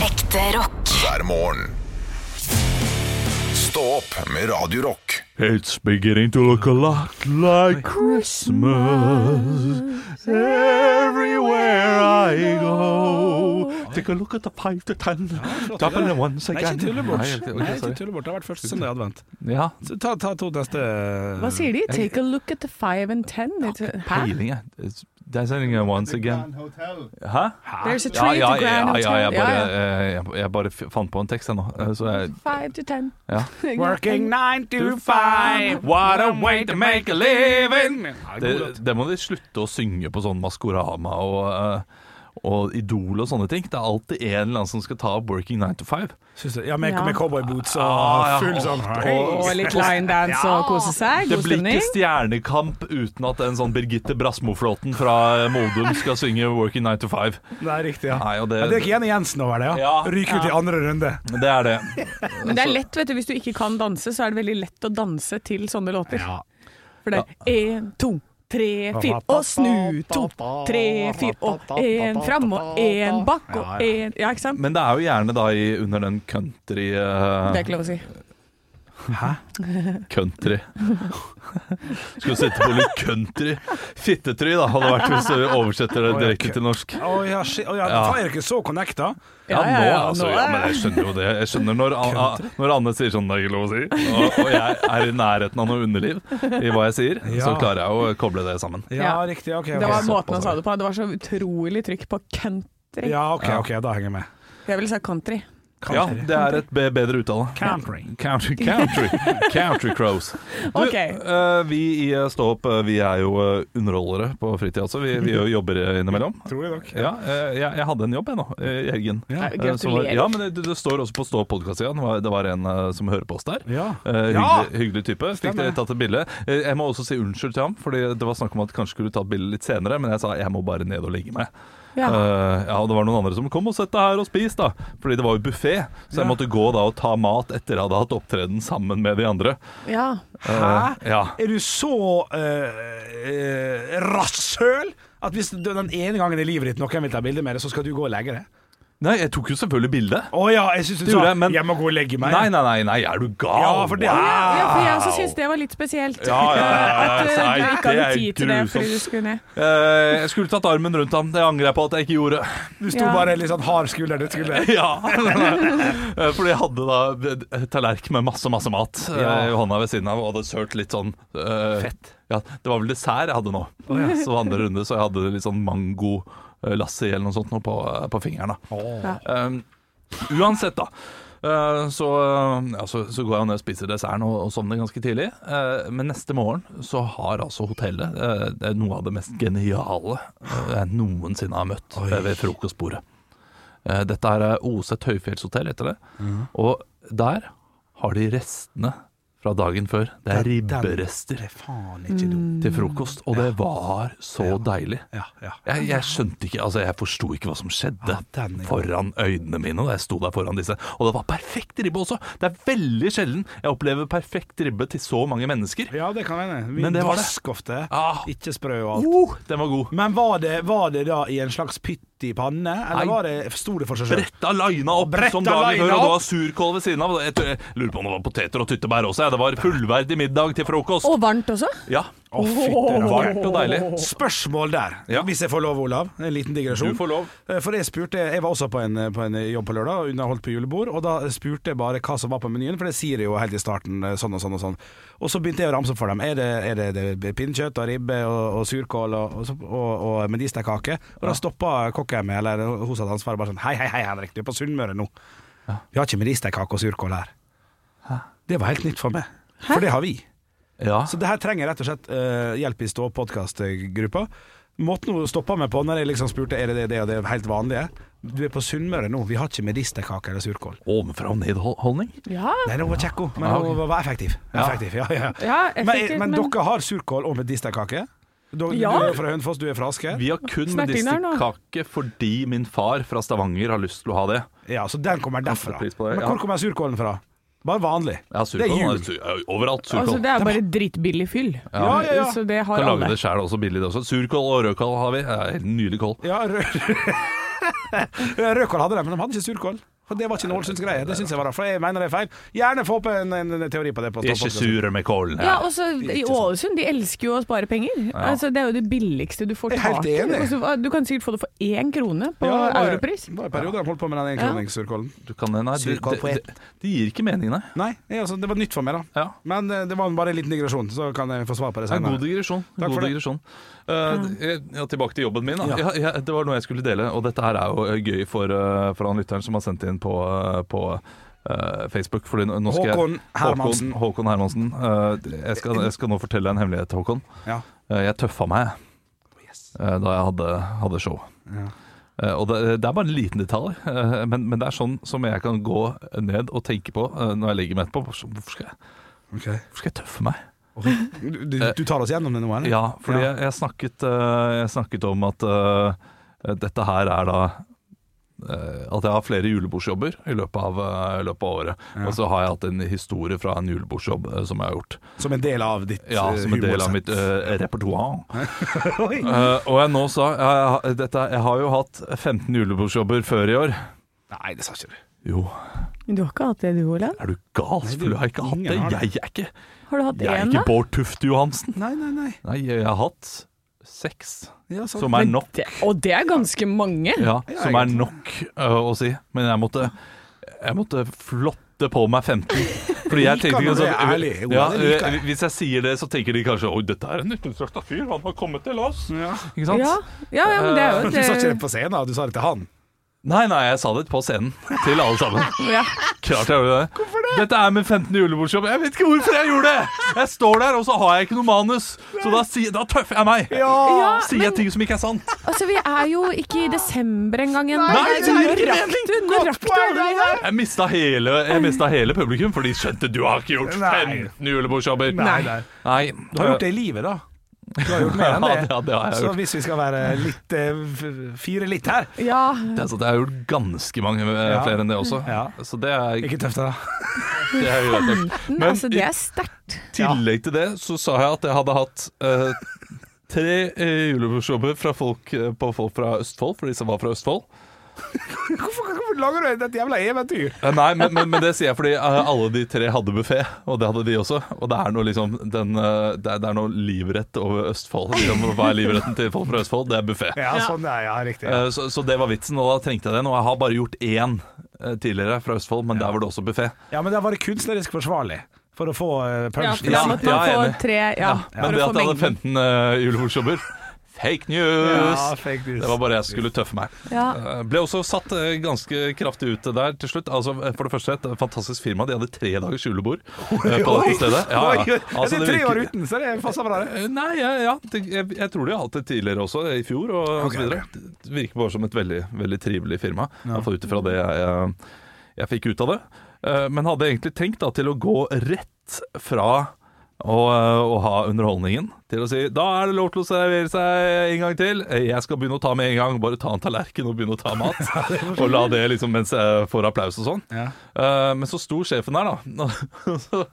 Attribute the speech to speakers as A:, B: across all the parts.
A: Ekte rock.
B: hver morgen. Stå opp med Radio Rock.
C: It's beginning to look a lot like Christmas everywhere I go. Take a look at the five to ten, double the ones
D: Nei, ikke
C: again.
D: tullebort.
C: Nei, ok, ok,
D: Nei, ikke
C: sorry.
D: tullebort. Det har vært første søndag i advent.
C: Ja,
D: Så ta, ta to neste
E: Hva sier de? Take a look at the five and ten. It's a- Hæ?
C: peiling, jeg. It's- There's anything once again. Hæ?
E: There's a
C: Ja,
E: tree
C: ja,
E: to grand
C: ja, ja, jeg
E: hotel.
C: bare,
E: Ja, ja.
C: eh, jeg- jeg bare f- fant på en tekst jeg nå. eh, Så jeg,
E: Five to ten.
C: ja.
D: Working nine to five, what a way to make a living! Ja, god
C: Det,
D: låt.
C: det må de slutte å synge på sånn Maskorama og, eh, og Idol og sånne ting. Det er alltid en eller annen som skal ta Working 9 to 5.
D: Syns du- Ja, med,
E: Ja.
D: med cowboyboots og
C: Ah, ja.
D: full sånn
E: Og litt line dance og kose seg.
C: Det
E: God
C: blir
E: stemning.
C: ikke stjernekamp uten at en sånn Birgitte Brasmo-flåten fra eh, Modum skal synge Working 9 to 5.
D: Det er riktig, ja.
C: Nei, og det,
D: ja det er ikke Jenny Jensen over det, ja.
C: Ja.
D: Ryker ut i andre runde.
C: det er det.
E: Men det er lett, vet du. Hvis du ikke kan danse, så er det veldig lett å danse til sånne låter. For det er én, to, tre, fire, og snu. To, tre, fire, og én fram, og én bak, og én Ja, ikke sant?
C: Men det er jo gjerne da i, under den country eh,
E: Det er ikke lov å si.
C: Country. Skulle sette på litt country. Fittetry, da, hadde det vært hvis du oversetter det
D: Å, ja,
C: direkte til norsk.
D: Å ja, shit. Å, ja,
C: Ja.
D: da er dere ikke så connecta.
C: Ja,
E: Ja, ja, ja,
C: nå, altså,
E: nå
C: ja,
E: er-
C: men jeg skjønner jo det. Jeg skjønner når, An- A- når Anne sier sånn, det er ikke lov å si, og, og jeg er i nærheten av noe underliv i hva jeg sier, så
D: Ja.
C: klarer jeg å koble det sammen.
D: Ja,
E: Ja.
D: riktig. OK. ok.
E: Det var måten han
C: såpass, altså.
E: sa det på. Det var så utrolig trykk på country.
D: Ja, ok, ok, da henger jeg med.
E: Jeg ville sagt country.
C: Ja, det er et be bedre uttale.
D: Country.
C: Country, country, country crows. Du,
E: Ok.
C: eh, vi i eh, Stå opp eh, vi er jo eh, underholdere på fritid også. Vi, vi gjør jobber eh, innimellom.
D: Trolig nok.
C: Ja, eh, jeg, jeg hadde en jobb jeg nå, eh, i helgen.
D: Ja.
E: Nei,
C: Eh, som var-
E: Gratulerer.
C: Ja, men det, det står også på Stå podkast igjen. Det var- Det var en eh, som hører på oss der.
D: Ja.
C: Eh,
D: Ja!
C: hyggelig, hyggelig type. Fikk
D: Stemmer.
C: det tatt et bilde. Eh, jeg må også si unnskyld til ham, Fordi det var snakk om at kanskje skulle ta et bilde litt senere, men jeg sa jeg må bare ned og legge meg.
E: Ja.
C: Eh, ja, og det var noen andre som kom og sett deg her og spis, da. Fordi det var jo buffé, så jeg
D: Ja.
C: måtte gå da og ta mat etter jeg hadde hatt opptreden sammen med de andre.
E: ja.
C: Eh,
D: Hæ?
C: ja.
D: Er du så eh, eh, rasshøl at hvis du- den ene gangen i livet ditt noen vil ta bilde med deg, så skal du gå og legge deg?
C: Nei, jeg tok jo selvfølgelig bilde.
D: Å ja, jeg syns du
C: Det gjorde
D: sa
C: jeg, men-
D: 'jeg må gå og legge meg'.
C: Nei, nei, nei, nei, er du gal?
D: Ja, for det er-
E: ja, for jeg også syns det var litt spesielt.
C: Ah. Ja, ja, ja, ja.
E: At uh,
C: Nei,
E: du
C: det
E: ikke hadde
C: er
E: tid til det fordi
C: grusomt.
E: du skulle ned.
C: Eh, jeg skulle tatt armen rundt ham. Det angrer jeg på at jeg ikke gjorde.
D: Du sto
E: Ja.
D: bare litt sånn hard skulder til skulder.
C: Ja Eh, Fordi jeg hadde da en tallerken med masse, masse mat eh, i hånda ved siden av Og hadde sølt litt sånn Fett ja, Det var vel dessert jeg hadde nå Så andre runde, så jeg hadde litt sånn mango eh, Lassi eller noe sånt nå på, eh, på fingeren da Um, Uansett da eh, så, eh, ja, så, så går jeg ned og spiser desserten og, og sovner ganske tidlig. Eh, Men neste morgen så har altså hotellet eh, det er noe av det mest geniale eh, jeg noensinne har møtt eh, ved frokostbordet. Eh, Dette er eh, Oset høyfjellshotell, heter det.
D: Mhm.
C: Og der har de restene fra dagen før. Det er ribberester
D: Det er faen ikke dumt.
C: til frokost, og det var så deilig.
D: Ja, ja.
C: Jeg, jeg skjønte ikke, altså jeg forsto ikke hva som skjedde
D: Ja, den er god.
C: foran øynene mine da jeg sto der foran disse. Og det var perfekt ribbe også! Det er veldig sjelden jeg opplever perfekt ribbe til så mange mennesker.
D: ja, det kan hende.
C: Men det var det.
D: Vask ofte.
C: Ah.
D: Ikke sprø og alt.
C: Oh, den var god.
D: Men var det, var det da i en slags pytt i panne, eller
C: Nei.
D: var det, sto det for seg sjøl?
C: Bretta lina opp
D: Bretta
C: som dagen før,
D: lina
C: og det
D: opp.
C: var surkål ved siden av. Jeg tror- jeg lurer på om det var poteter og tyttebær også. Ja. Det var fullverdig middag til frokost.
E: Og varmt også.
C: Ja,
D: Å, fytti
C: Varmt og deilig.
D: Spørsmål der,
C: Ja.
D: hvis jeg får lov, Olav. En liten digresjon.
C: Du får lov.
D: Eh, For jeg spurte Jeg var også på en, på en jobb på lørdag og underholdt på julebord, og da spurte jeg bare hva som var på menyen, for det sier jeg jo helt i starten, eh, sånn og sånn og sånn. Og så begynte jeg å ramse opp for dem. Er det, er det, det pinnekjøtt og ribbe og, og surkål og, og, så- og, og medisterkake? Og da stoppa kokken meg, eller hun satt ansvaret, bare sånn Hei, hei, hei, Henrik, du er på Sunnmøre nå. Vi har ikke medisterkake og surkål her. Det var helt nytt for meg. For det har vi.
C: ja.
D: Så det her trenger rett og slett eh, hjelp i stå podcast-gruppa. Måten hun stoppa meg på når jeg liksom spurte er det det, det og det helt vanlige Du er på Sunnmøre nå, vi har ikke medisterkake eller surkål.
C: Ovenfra og ned-holdning.
E: Ja.
D: Nei, hun var kjekk, hun, men
C: Ah, ok.
D: hun var effektiv.
C: Ja.
D: effektiv ja, ja.
E: Ja, effektiv,
D: men, men,
E: men-
D: dere har surkål og medisterkake? Du,
E: Ja.
D: du er fra Hønefoss, du er fra Asker?
C: Vi har kun
E: Snert inn her nå.
C: medisterkake fordi min far fra Stavanger har lyst til å ha det.
D: Ja, så den kommer derfra.
C: Jeg setter pris på det,
D: Men
C: ja.
D: hvor kommer surkålen fra? Bare vanlig.
C: Ja,
D: det
C: surkål.
D: er jul.
C: det er su- Overalt surkål.
E: Altså, det er bare drittbillig fyll.
D: Ja, ja, ja.
E: Så det har
C: Kan lage
E: alle.
C: det sjæl også billig. det Også. Surkål og rødkål har vi. Det er helt Nydelig kål.
D: Ja, rød... Rødkål hadde de, men de hadde ikke surkål. For det var ikke en Ålesundsgreie. Det syns jeg var rart, for jeg mener det er feil. Gjerne få opp en, en, en teori på det. På
C: De er ikke sure med kålen.
E: Ja, også I Ålesund de elsker jo å spare penger. Altså, det er jo det billigste du får
D: Jeg er helt
E: tak i.
D: enig.
E: Altså, Du kan sikkert få det for én krone på
D: Ja, det var-
E: europris.
D: Det var en periode han holdt på med den enkroningssurkollen.
C: Du kan, nei, det,
D: Surkål
C: det,
D: på ett.
C: det, det gir ikke mening, nei.
D: Nei, jeg, altså, det var nytt for meg, da.
C: Ja.
D: Men eh, det var bare en liten digresjon, så kan jeg få svar på det
C: Det er en god
D: senere.
C: digresjon. En
D: Takk for
C: God
D: det.
C: digresjon. Eh, jeg- ja, tilbake til jobben min. Da. Ja, jeg- det var noe jeg skulle dele, og dette her er jo eh, gøy for, eh, for han lytteren som har sendt inn på, eh, på eh, Facebook. Fordi nå nå skal jeg-
D: Håkon Hermansen.
C: Håkon, Håkon Hermansen. Eh, jeg, skal, jeg skal nå fortelle deg en hemmelighet, Håkon.
D: Ja.
C: Eh, jeg tøffa meg eh, da jeg hadde, hadde show. Eh, og det, det er bare en liten detalj, eh, men, men det er sånn som jeg kan gå ned og tenke på eh, når jeg legger meg etterpå. Hvorfor hvorfor skal jeg,
D: Ok.
C: hvorfor skal jeg tøffe meg?
D: Du, du, du tar oss gjennom det nå, eller?
C: Eh. Ja, fordi
D: Ja.
C: Jeg, jeg, snakket, eh, jeg snakket om at eh, dette her er da eh, at jeg har flere julebordsjobber i løpet av, eh, i løpet av året. Og så har jeg hatt en historie fra en julebordsjobb eh, som jeg har gjort.
D: Som en del av ditt
C: Ja,
D: eh,
C: Som en del av mitt
D: humorsett.
C: eh, repertoar.
D: Oi.
C: Eh, og jeg nå sa jeg, jeg, dette, jeg har jo hatt 15 julebordsjobber før i år.
D: Nei, det sa ikke du.
C: Jo,
E: Men du har ikke hatt det du, Olav?
C: er du gal? Selvfølgelig har jeg ikke hatt det.
D: Ingen har det.
C: Jeg er ikke,
E: Har du hatt
C: jeg er
E: én,
C: ikke
E: da?
C: Bård Tufte Johansen.
D: Nei, nei, nei.
C: Nei, jeg har hatt seks,
D: Ja, så-
C: som er
E: Men
C: nok,
E: Det, og det er ganske mange.
C: ja,
D: Ja,
C: som er
D: egentlig.
C: nok eh, å si. Men jeg måtte, jeg måtte flotte på meg 15. Fordi jeg
D: Liker
C: tenkte ikke
D: når du er
C: sånn
D: ærlig, Ola,
C: ja,
D: det liker
C: eh,
D: jeg.
C: Hvis jeg sier det, så tenker de kanskje Oi, dette er en nyttelslakta fyr, han har kommet til oss.
D: Ja.
C: Ikke sant? Eh,
E: Ja, ja, ja men det er jo
D: Du sa ikke det
E: et,
D: på scenen, da. du sa det til han.
C: Nei, nei, jeg sa det på scenen til alle sammen.
E: ja.
C: Klart jeg gjorde det. Hvorfor det? Dette er min 15. julebordsjobb. Jeg vet ikke hvorfor jeg gjorde det! Jeg står der, og så har jeg ikke noe manus. Så da, si, da tøffer jeg meg.
E: Ja,
C: Sier jeg ting som ikke er sant.
E: Altså, vi er jo ikke i desember engang ennå.
C: Nei,
E: Det er
C: det er ikke
E: rakk
C: meningen.
E: du, nå rakk du alle de her.
C: Jeg mista hele, jeg mista hele publikum, for de skjønte du har ikke gjort
D: Nei.
C: 15 julebordsjobber.
D: Nei, nei.
C: nei.
D: Du har gjort det i livet, da. Du har gjort mer enn
C: Ja,
D: det.
C: det- ja, det har jeg
D: så
C: gjort.
D: hvis vi skal være litt eh, f- fire litt her
E: Ja,
C: Altså, Det er sant, jeg har gjort ganske mange eh,
D: Ja.
C: flere enn det også.
D: Ja.
C: Så det er,
D: Ikke tøft, da.
C: det er jo greit.
E: men,
C: Men
E: altså, det er sterkt.
C: I tillegg til det så sa jeg at jeg hadde hatt eh, tre eh, julebordsjobber fra folk, eh, på folk fra Østfold, for de som var fra Østfold.
D: Hvorfor, hvorfor lager du et jævla eventyr?
C: Eh, Nei, men, men, men det sier jeg fordi eh, alle de tre hadde buffé, og det hadde de også. Og det er noe liksom den, eh, det, er, det er noe livrett over Østfold. Liksom, hva er livretten til folk fra Østfold? Det er buffé.
D: Ja, sånn det er, ja, riktig.
C: Eh, Så, så det var vitsen, og da trengte jeg den. Og jeg har bare gjort én eh, tidligere fra Østfold, men der var det også buffé.
D: Ja, men det har vært kunstnerisk forsvarlig for å få eh,
E: Ja,
D: punch.
E: for da
C: Ja,
E: måtte man
C: ja,
E: få
C: enig.
E: tre ja,
C: Men
E: for
C: det
E: å
C: at
E: få
C: jeg hadde
E: mengden.
C: 15 uh, julebordsjobber Fake news!
D: Ja, fake news.
C: Det var bare jeg skulle tøffe meg.
E: Ja.
C: Eh, Ble også satt eh, ganske kraftig ut der til slutt. Altså, eh, for det første, et fantastisk firma. De hadde tre dagers julebord eh, på dette stedet. Ja,
D: Oi,
C: ja.
D: oi, ja,
C: Altså,
D: det er tre
C: virker-
D: år uten, så det passer bra, det.
C: Eh, Nei, ja, ja. det- Jeg, jeg tror de har hatt det tidligere også, i fjor og
D: Ok,
C: så videre. Det virker bare som et veldig, veldig trivelig firma, iallfall ut ifra det jeg, jeg, jeg fikk ut av det. Eh, Men hadde egentlig tenkt da, til å gå rett fra å, eh, å ha underholdningen til å si da er det lov til å servere seg en gang til. Eh, Jeg skal begynne å ta med en gang. Bare ta en tallerken og begynne å ta mat. og la det liksom mens jeg får applaus og sånn.
D: Ja.
C: Eh, Men så sto sjefen der, da. Så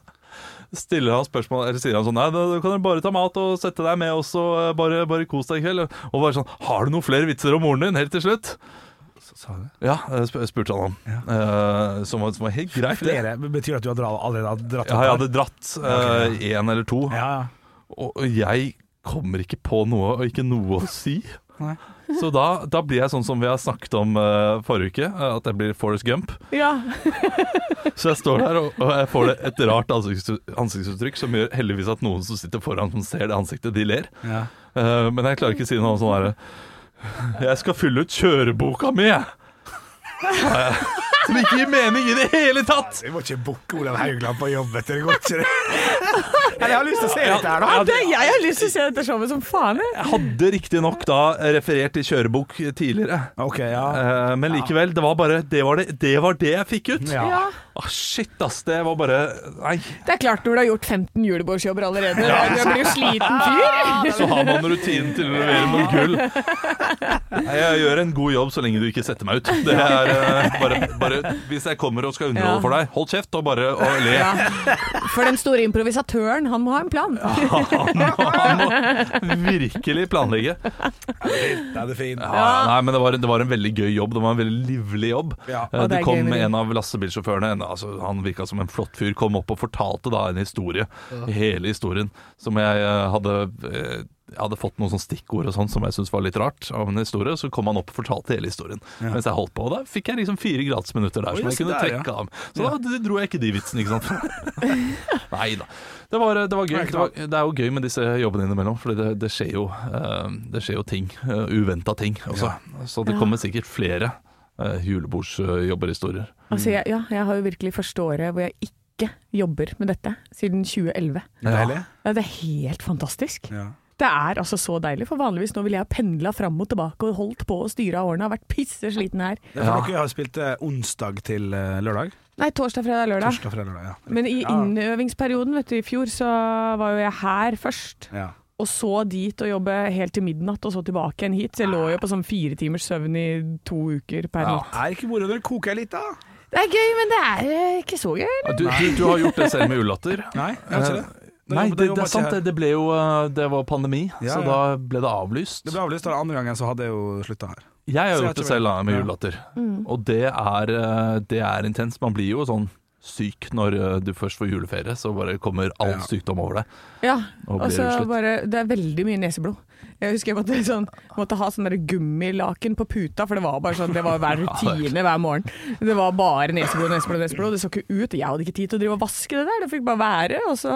C: stiller han spørsmål, eller sier han sånn Nei, da da kan du bare ta mat og sette deg med oss og eh, bare, bare kos deg i kveld. Og bare sånn Har du noen flere vitser om moren din? Helt til slutt. Ja, eh, sp spurte han om. Eh, som, var, som var helt greit, det.
D: Flere betyr at du har dra- allerede har dratt
C: Ja, jeg hadde
D: opp.
C: dratt én eller to,
D: her. Ja, ja.
C: og og jeg kommer ikke på noe og ikke noe å si.
D: Nei.
C: Så da, da blir jeg sånn som vi har snakket om eh, forrige uke, eh, at jeg blir Forrest Gump.
E: ja.
C: Så jeg står der og, og jeg får det et rart ansikts- ansiktsuttrykk som gjør heldigvis at noen som sitter foran som ser det ansiktet, de ler.
D: Ja.
C: Eh, men jeg klarer ikke å si noe sånn herre Jeg skal fylle ut kjøreboka mi, jeg. Sa jeg. Som ikke gir mening i det hele tatt!
D: Vi må ikke booke Olav Haugland på jobb, vet du. Det går ikke, det. Eller jeg har lyst til å se litt her,
E: Ja,
D: da.
E: det, jeg har lyst til å se dette showet som faen. jeg.
C: Jeg hadde riktignok da referert til kjørebok tidligere,
D: Ok, ja.
C: eh, men likevel. Det var bare Det var det, det, var det jeg fikk ut.
D: Ja.
E: Ja.
C: Ah, shit, ass. Det var bare Nei.
E: Det er klart når du har gjort 15 julebordsjobber allerede. Du blir jo sliten fyr.
C: Så har man rutinen til å levere noe gull. Nei, Jeg gjør en god jobb så lenge du ikke setter meg ut. Det er eh, bare, bare Hvis jeg kommer og skal underholde
E: Ja.
C: for deg, hold kjeft og bare og le.
E: Ja. For den store Store improvisatøren, han må ha en plan.
C: Han må virkelig planlegge.
D: Det er det fint.
C: Ja, Nei, men det var, det var en veldig gøy jobb. Det var en veldig livlig jobb.
D: Ja.
C: Eh,
E: Og det
C: det
E: er gøy
C: kom
E: med
C: en av lastebilsjåførene, en, altså, han virka som en flott fyr, kom opp og fortalte da en historie, hele historien, som jeg eh, hadde eh, jeg hadde fått noen sånne stikkord og sånn som jeg syntes var litt rart. av en historie, Så kom han opp og fortalte hele historien. Mens jeg holdt på, og Da fikk jeg liksom fire gratisminutter der
D: Oi,
C: som jeg
D: se
C: kunne
D: der, ja.
C: trekke av. Så da dro jeg ikke de vitsene, ikke sant. Nei da. Det var, det var gøy.
D: Nei,
C: Det, var, det er jo gøy med disse jobbene innimellom, for det, det, skjer jo, eh, det skjer jo ting. Uh, Uventa ting også. Så det kommer sikkert flere uh, julebordsjobberhistorier.
E: Altså, jeg, ja, jeg har jo virkelig første året hvor jeg ikke jobber med dette, siden 2011.
D: Deilig.
E: Ja, det er helt fantastisk.
D: Ja.
E: Det er altså så deilig, for vanligvis nå ville jeg ha pendla fram og tilbake og holdt på å styre av årene, har vært pissesliten her.
D: Det er for dere har spilt eh, onsdag til eh, lørdag.
E: Nei, torsdag, fredag, lørdag.
D: Torsdag fra lørdag, ja.
E: Men i
D: Ja.
E: innøvingsperioden, vet du, i fjor så var jo jeg her først,
D: ja.
E: og så dit og jobbe helt til midnatt, og så tilbake igjen hit. Så jeg lå jo på sånn fire timers søvn i to uker per natt.
D: Er ikke moro når det koker litt, da?
E: Det er gøy, men det er eh, ikke så gøy.
C: Du, du, du har gjort det selv med Ullatter.
D: Nei, jeg har ikke det. Da
C: Nei,
D: jobber- da
C: det,
D: jobber
C: det er
D: jeg
C: sant.
D: ikke her.
C: Det, det ble jo eh, Det var pandemi,
D: Ja,
C: så
D: ja.
C: da ble det avlyst.
D: Det ble avlyst, og andre gangen så hadde jeg jo slutta her.
C: Jeg har
D: Så jeg
C: gjort det
D: tror-
C: selv da, med
D: Ja.
C: julelatter.
E: Mm.
C: Og det er, eh, det er intenst. Man blir jo sånn syk når eh, du først får juleferie, så bare kommer all
D: Ja.
C: sykdom over deg.
E: Ja,
C: Og blir
E: og så
C: ruslet.
E: Altså, bare, det er veldig mye neseblod. Jeg husker jeg måtte, sånn, måtte ha sånn der gummilaken på puta, for det var bare sånn, det var hver rutine hver morgen. Det var bare neseblod, neseblod, neseblod. Det så ikke ut. Jeg hadde ikke tid til å drive og vaske det der, det fikk bare være. Og så,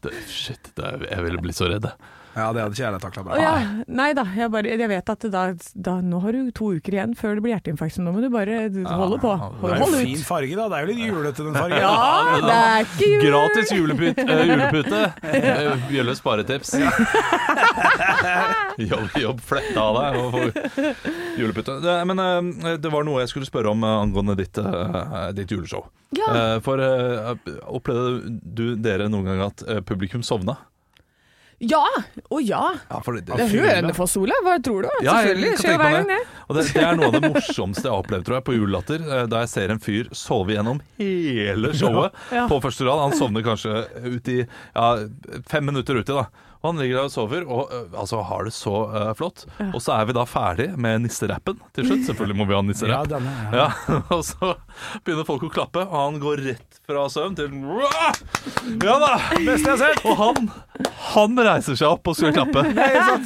C: Det, shit, det er, jeg ville blitt så redd.
D: Ja, det hadde ikke jeg takla
E: og
D: bra.
E: ja, nei da, jeg, bare, jeg vet at da, da, nå har du to uker igjen før det blir hjerteinfarkt, så nå må du bare holde på.
C: det er
E: Hold
D: En
E: ut.
D: fin farge, da. Det er jo litt julete, den fargen.
E: Ja, det er ikke jul!
C: Gratis julepute! eh, julepute. Eh, Bjølles sparetips. jobb, jobb fletta av deg og få julepute. Det, men eh, det var noe jeg skulle spørre om eh, angående ditt, eh, ditt juleshow.
E: Ja.
C: Eh, For eh, opplevde du dere noen gang at eh, publikum sovna?
E: Ja, å ja.
C: Ja, for det,
E: Det er Hønefoss-Ola, hva tror du?
C: Ja, jeg
E: Selvfølgelig,
C: kan
E: skjer
C: tenke meg
E: hver gang det.
C: Og det, det er noe av det morsomste jeg har opplevd tror jeg, på Julelatter. eh, Da jeg ser en fyr sove gjennom hele showet
E: Ja.
C: på første rad. Han sovner kanskje ut i, ja, fem minutter uti, da. Og han ligger der og sover, og eh, altså, har det så eh, flott. Og så er vi da ferdig med nisserappen til slutt. Selvfølgelig må vi ha
D: Ja,
C: nisserapp.
D: den er-
C: Ja, og så begynner folk å klappe, og han går rett fra søvn til Ja da! Og han, han reiser seg opp og skal klappe.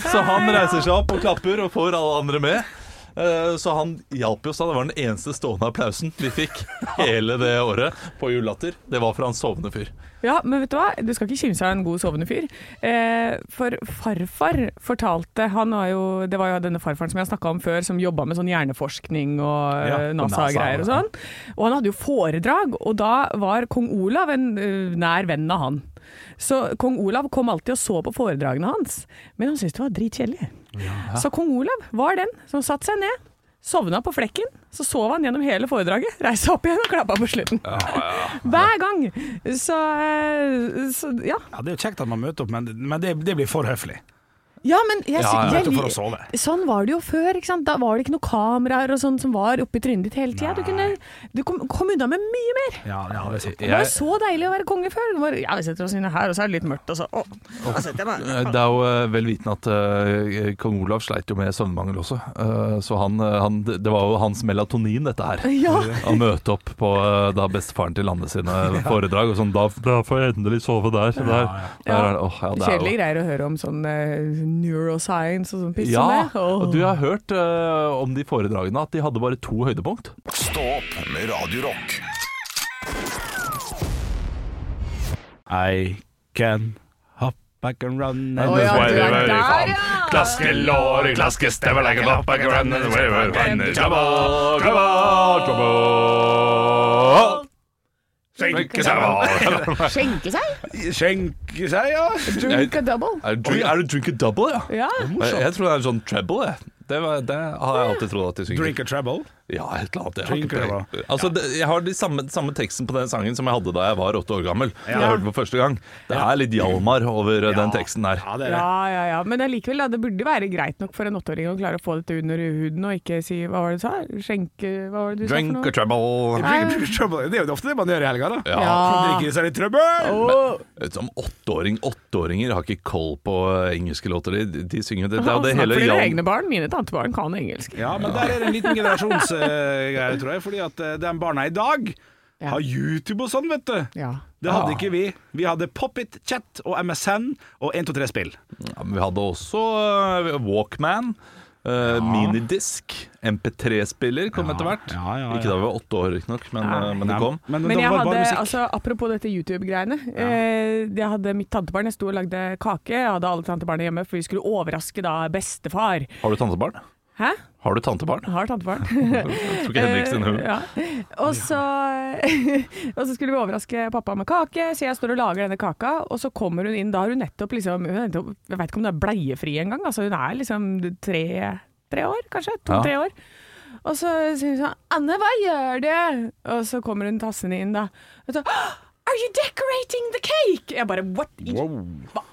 C: Så han reiser seg opp og klapper og får alle andre med. Eh, Så han hjalp oss da. Det var den eneste stående applausen vi fikk hele det året på Julelatter. Det var fra en sovende fyr.
E: Ja, men vet du hva? Du skal ikke kimse av en god sovende fyr. Eh, for farfar fortalte han var jo, Det var jo denne farfaren som jeg snakka om før, som jobba med sånn hjerneforskning og
D: Ja,
E: eh,
D: på
E: NASA-greier og
D: NASA, ja.
E: sånn. Og han hadde jo foredrag, og da var kong Olav en eh, nær venn av han. Så kong Olav kom alltid og så på foredragene hans, men han syntes det var dritkjedelig. Så kong Olav var den som satte seg ned. Sovna på flekken, så sov han gjennom hele foredraget. Reiste opp igjen og klappa på slutten. Hver gang! Så, eh, så ja.
D: Ja, det er jo kjekt at man møter opp, men, men det, det blir for høflig.
E: ja, men
C: Ja,
E: jeg,
C: ja.
E: jeg-
D: Nettopp for å sove.
E: Sånn var det jo før. ikke sant? Da var det ikke noen kameraer og sånn som var oppi trynet ditt hele tida. Du, kunne- du kom, kom unna med mye mer!
D: Ja, ja, det er sant.
E: Det var jo så deilig å være konge før. Det var, ja, vi setter oss inne her, og så er det litt mørkt, og så å, da setter jeg meg.
C: Det er jo eh, vel vitende at eh, kong Olav sleit jo med søvnmangel også. Eh, Så han, eh, han, det var jo hans melatonin, dette her.
E: Ja.
C: Å møte opp på eh, da bestefaren til landet sine foredrag. Og sånn, da, da får jeg endelig sove der. Så der, der er det, åh, ja, det er jo-
E: Kjedelige greier å høre om sånn eh, neuroscience og sånn piss som
C: Ja,
E: det. Åh.
C: og du har hørt eh, om de foredragene at de hadde bare to høydepunkt.
B: Stå opp med Radio Rock.
D: I can hop, I can run
E: Å ja, du er
A: Where
E: der,
A: are you
E: ja!
A: Klaske lår, klaske stemmer, legge den opp, legge den opp, legge den Trouble, trouble, trouble. Skjenke seg, hva?
E: Skjenke seg?
D: Skjenke seg, ja.
E: Drink a double?
C: Er det drink, er det drink a double, ja?
E: Ja.
C: Jeg, jeg tror det er en sånn treble, jeg. det, var, det har jeg alltid trodd at de synger.
D: Drink a treble.
C: Ja, et eller annet. Jeg har,
D: Drink
C: ikke
D: a
C: peiling. altså, det, jeg har de samme, samme teksten på den sangen som jeg hadde da jeg var åtte år gammel. Da Jeg hørte den for første gang. Det er litt Hjalmar over eh, den teksten der.
D: Ja, det er det.
E: Ja, ja, ja. Men allikevel, da. Det burde være greit nok for en åtteåring å klare å få dette under huden, og ikke si hva var det du sa? Skjenke Hva var det du sa
C: Drink a
E: for noe?
C: trouble.
D: Drink a trouble. Det er jo ofte det man gjør i helga, da.
C: Ja.
E: Ja.
D: Drikker seg litt trøbbel!
E: Åh,
C: Som åtteåring Åtteåringer har ikke koll på eh, engelske låter. De, de synger det, det, er jo det
E: snakk
C: hele
E: altså, for dine
C: Hjalmar-
E: egne barn. Mine tantebarn kan engelsk.
D: Ja, men der er det en liten generasjonsgreie, tror jeg. Fordi at eh, de barna i dag
E: Ja.
D: har YouTube og sånn, vet du.
E: Ja.
D: Det hadde ikke vi. Vi hadde Pop-It, Chat og MSN og 123-spill.
C: Ja, men vi hadde også eh, Walkman, eh, minidisk, MP3-spiller kom etter hvert.
D: ja, ja, ja.
C: Ikke da vi var åtte år, riktignok, men, eh, men det kom.
D: Men,
E: Men
D: det
E: jeg
D: var
E: hadde,
D: bare musikk.
E: altså, apropos dette YouTube-greiene. Eh, jeg hadde mitt tantebarn. Jeg sto og lagde kake. Jeg hadde alle tantebarna hjemme, for vi skulle overraske da bestefar.
C: Har du tantebarn?
E: Hæ?
C: Har du tantebarn?
E: Jeg har tantebarn.
C: Jeg tror ikke Henrik sin hund.
E: Eh, ja. og, så, og så skulle vi overraske pappa med kake, så jeg står og lager denne kaka, og så kommer hun inn. Da har hun nettopp liksom hun er nettopp, Jeg veit ikke om hun er bleiefri engang. Altså, hun er liksom tre, tre år, kanskje?
C: Ja.
E: To-tre år. Og så sier hun sånn 'Anne, hva gjør du?' Og så kommer hun tassende inn, da. Og så 'Are you decorating the cake?' Jeg bare What? i- Hva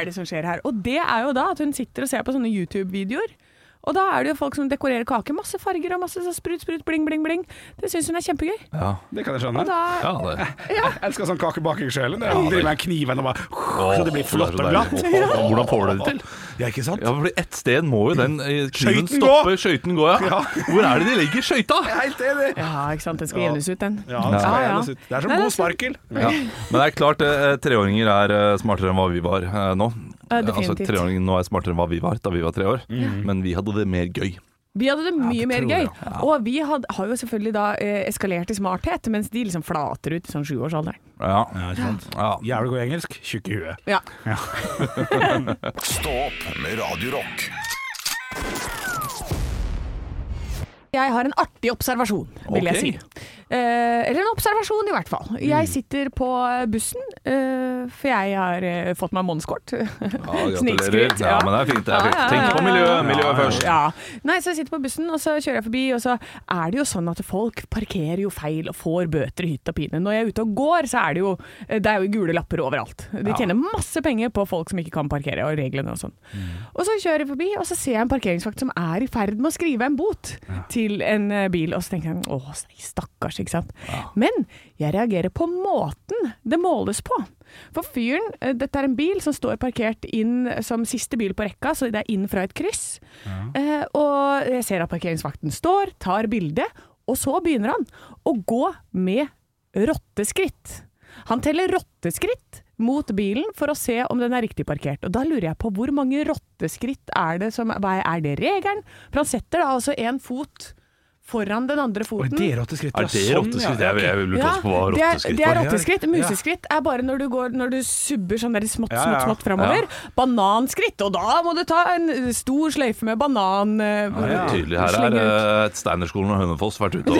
E: er det som skjer her? Og det er jo da at hun sitter og ser på sånne YouTube-videoer. Og da er det jo folk som dekorerer kake. Masse farger og masse sånn sprut, sprut, bling, bling, bling. Det syns hun er kjempegøy.
C: Ja.
D: Det kan
E: Og
D: jeg skjønne.
E: da
C: ja, det.
D: Jeg elsker sånn kakebaking sjøl. Ja, driver med kniven og bare Så det blir
C: Åh, så
D: flott og
C: deilig.
D: glatt.
C: Åh, åh, Hvordan får du det til?
D: Ja, ikke sant?
C: Ja, for Ett sted må jo den eh, kniven
D: Skøyten gå!
C: stoppe, skøyten gå, ja.
D: Ja.
C: Hvor er det de legger skøyta?
D: Jeg er helt enig.
E: Ja, ikke sant. Den skal jevnes ut, den.
D: Ja, det, skal
E: Ah, Ja, ja.
D: gjerne sitte. det er som
E: Nei, det er
D: god sparkel.
C: Ja. Men det er klart, eh, treåringer er eh, smartere enn hva vi var eh, nå.
E: Ja,
C: altså,
E: definitivt.
C: treåringer nå er smartere enn hva vi var da vi var tre år.
D: Mm.
C: Men vi hadde det mer gøy.
E: Vi hadde det mye mer gøy. Og vi had, har jo selvfølgelig da eh, eskalert i smarthet, mens de liksom flater ut i sånn sjuårsalderen.
C: Ja.
D: Ja, ikke sant?
C: ja.
D: Jævlig god engelsk, tjukk i huet.
E: Ja.
B: Stå opp med Radio Rock.
E: Jeg har en artig observasjon, vil
C: Ok.
E: jeg si. Eh, eller en observasjon, i hvert fall. Jeg sitter på bussen, eh, for jeg har eh, fått meg månedskort.
C: Ja, gratulerer.
E: Snikskryt,
C: Ja, men det er fint. det er fint. Tenk på miljøet. Miljøet først.
E: Ja. Nei, så jeg sitter på bussen, og så kjører jeg forbi, og så er det jo sånn at folk parkerer jo feil og får bøter i hytt og pine. Når jeg er ute og går, så er det jo eh, Det er jo gule lapper overalt. De tjener masse penger på folk som ikke kan parkere, og reglene og sånn.
C: Mm.
E: Og så kjører jeg forbi, og så ser jeg en parkeringsvakt som er i ferd med å skrive en bot til en eh, bil, og så tenker jeg åh, stakkars, ikke sant. Men jeg reagerer på måten det måles på. For fyren, eh, dette er en bil som står parkert inn som siste bil på rekka, så det er inn fra et kryss. Eh, og jeg ser at parkeringsvakten står, tar bilde, og så begynner han å gå med rotteskritt. Han teller rotteskritt mot bilen for å se om den er riktig parkert. Og da lurer jeg på hvor mange rotteskritt er det som Hva er det regelen? For han setter da altså en fot foran den andre
D: Oi,
E: foten.
D: det er rotteskritt.
C: Er det rotteskritt? Jeg, jeg lurte også på hva
E: det er-
C: rotteskritt
E: Det er
C: var.
E: rotteskritt. Museskritt er bare når du, går, når du subber sånn der smått,
D: Ja,
E: smått,
D: ja.
E: smått framover. Bananskritt, og da må du ta en eh, stor sløyfe med banan. eh,
C: Det er Tydelig her er
E: slenge ut.
C: eh, et Steinerskolen og Hønefoss vært ute og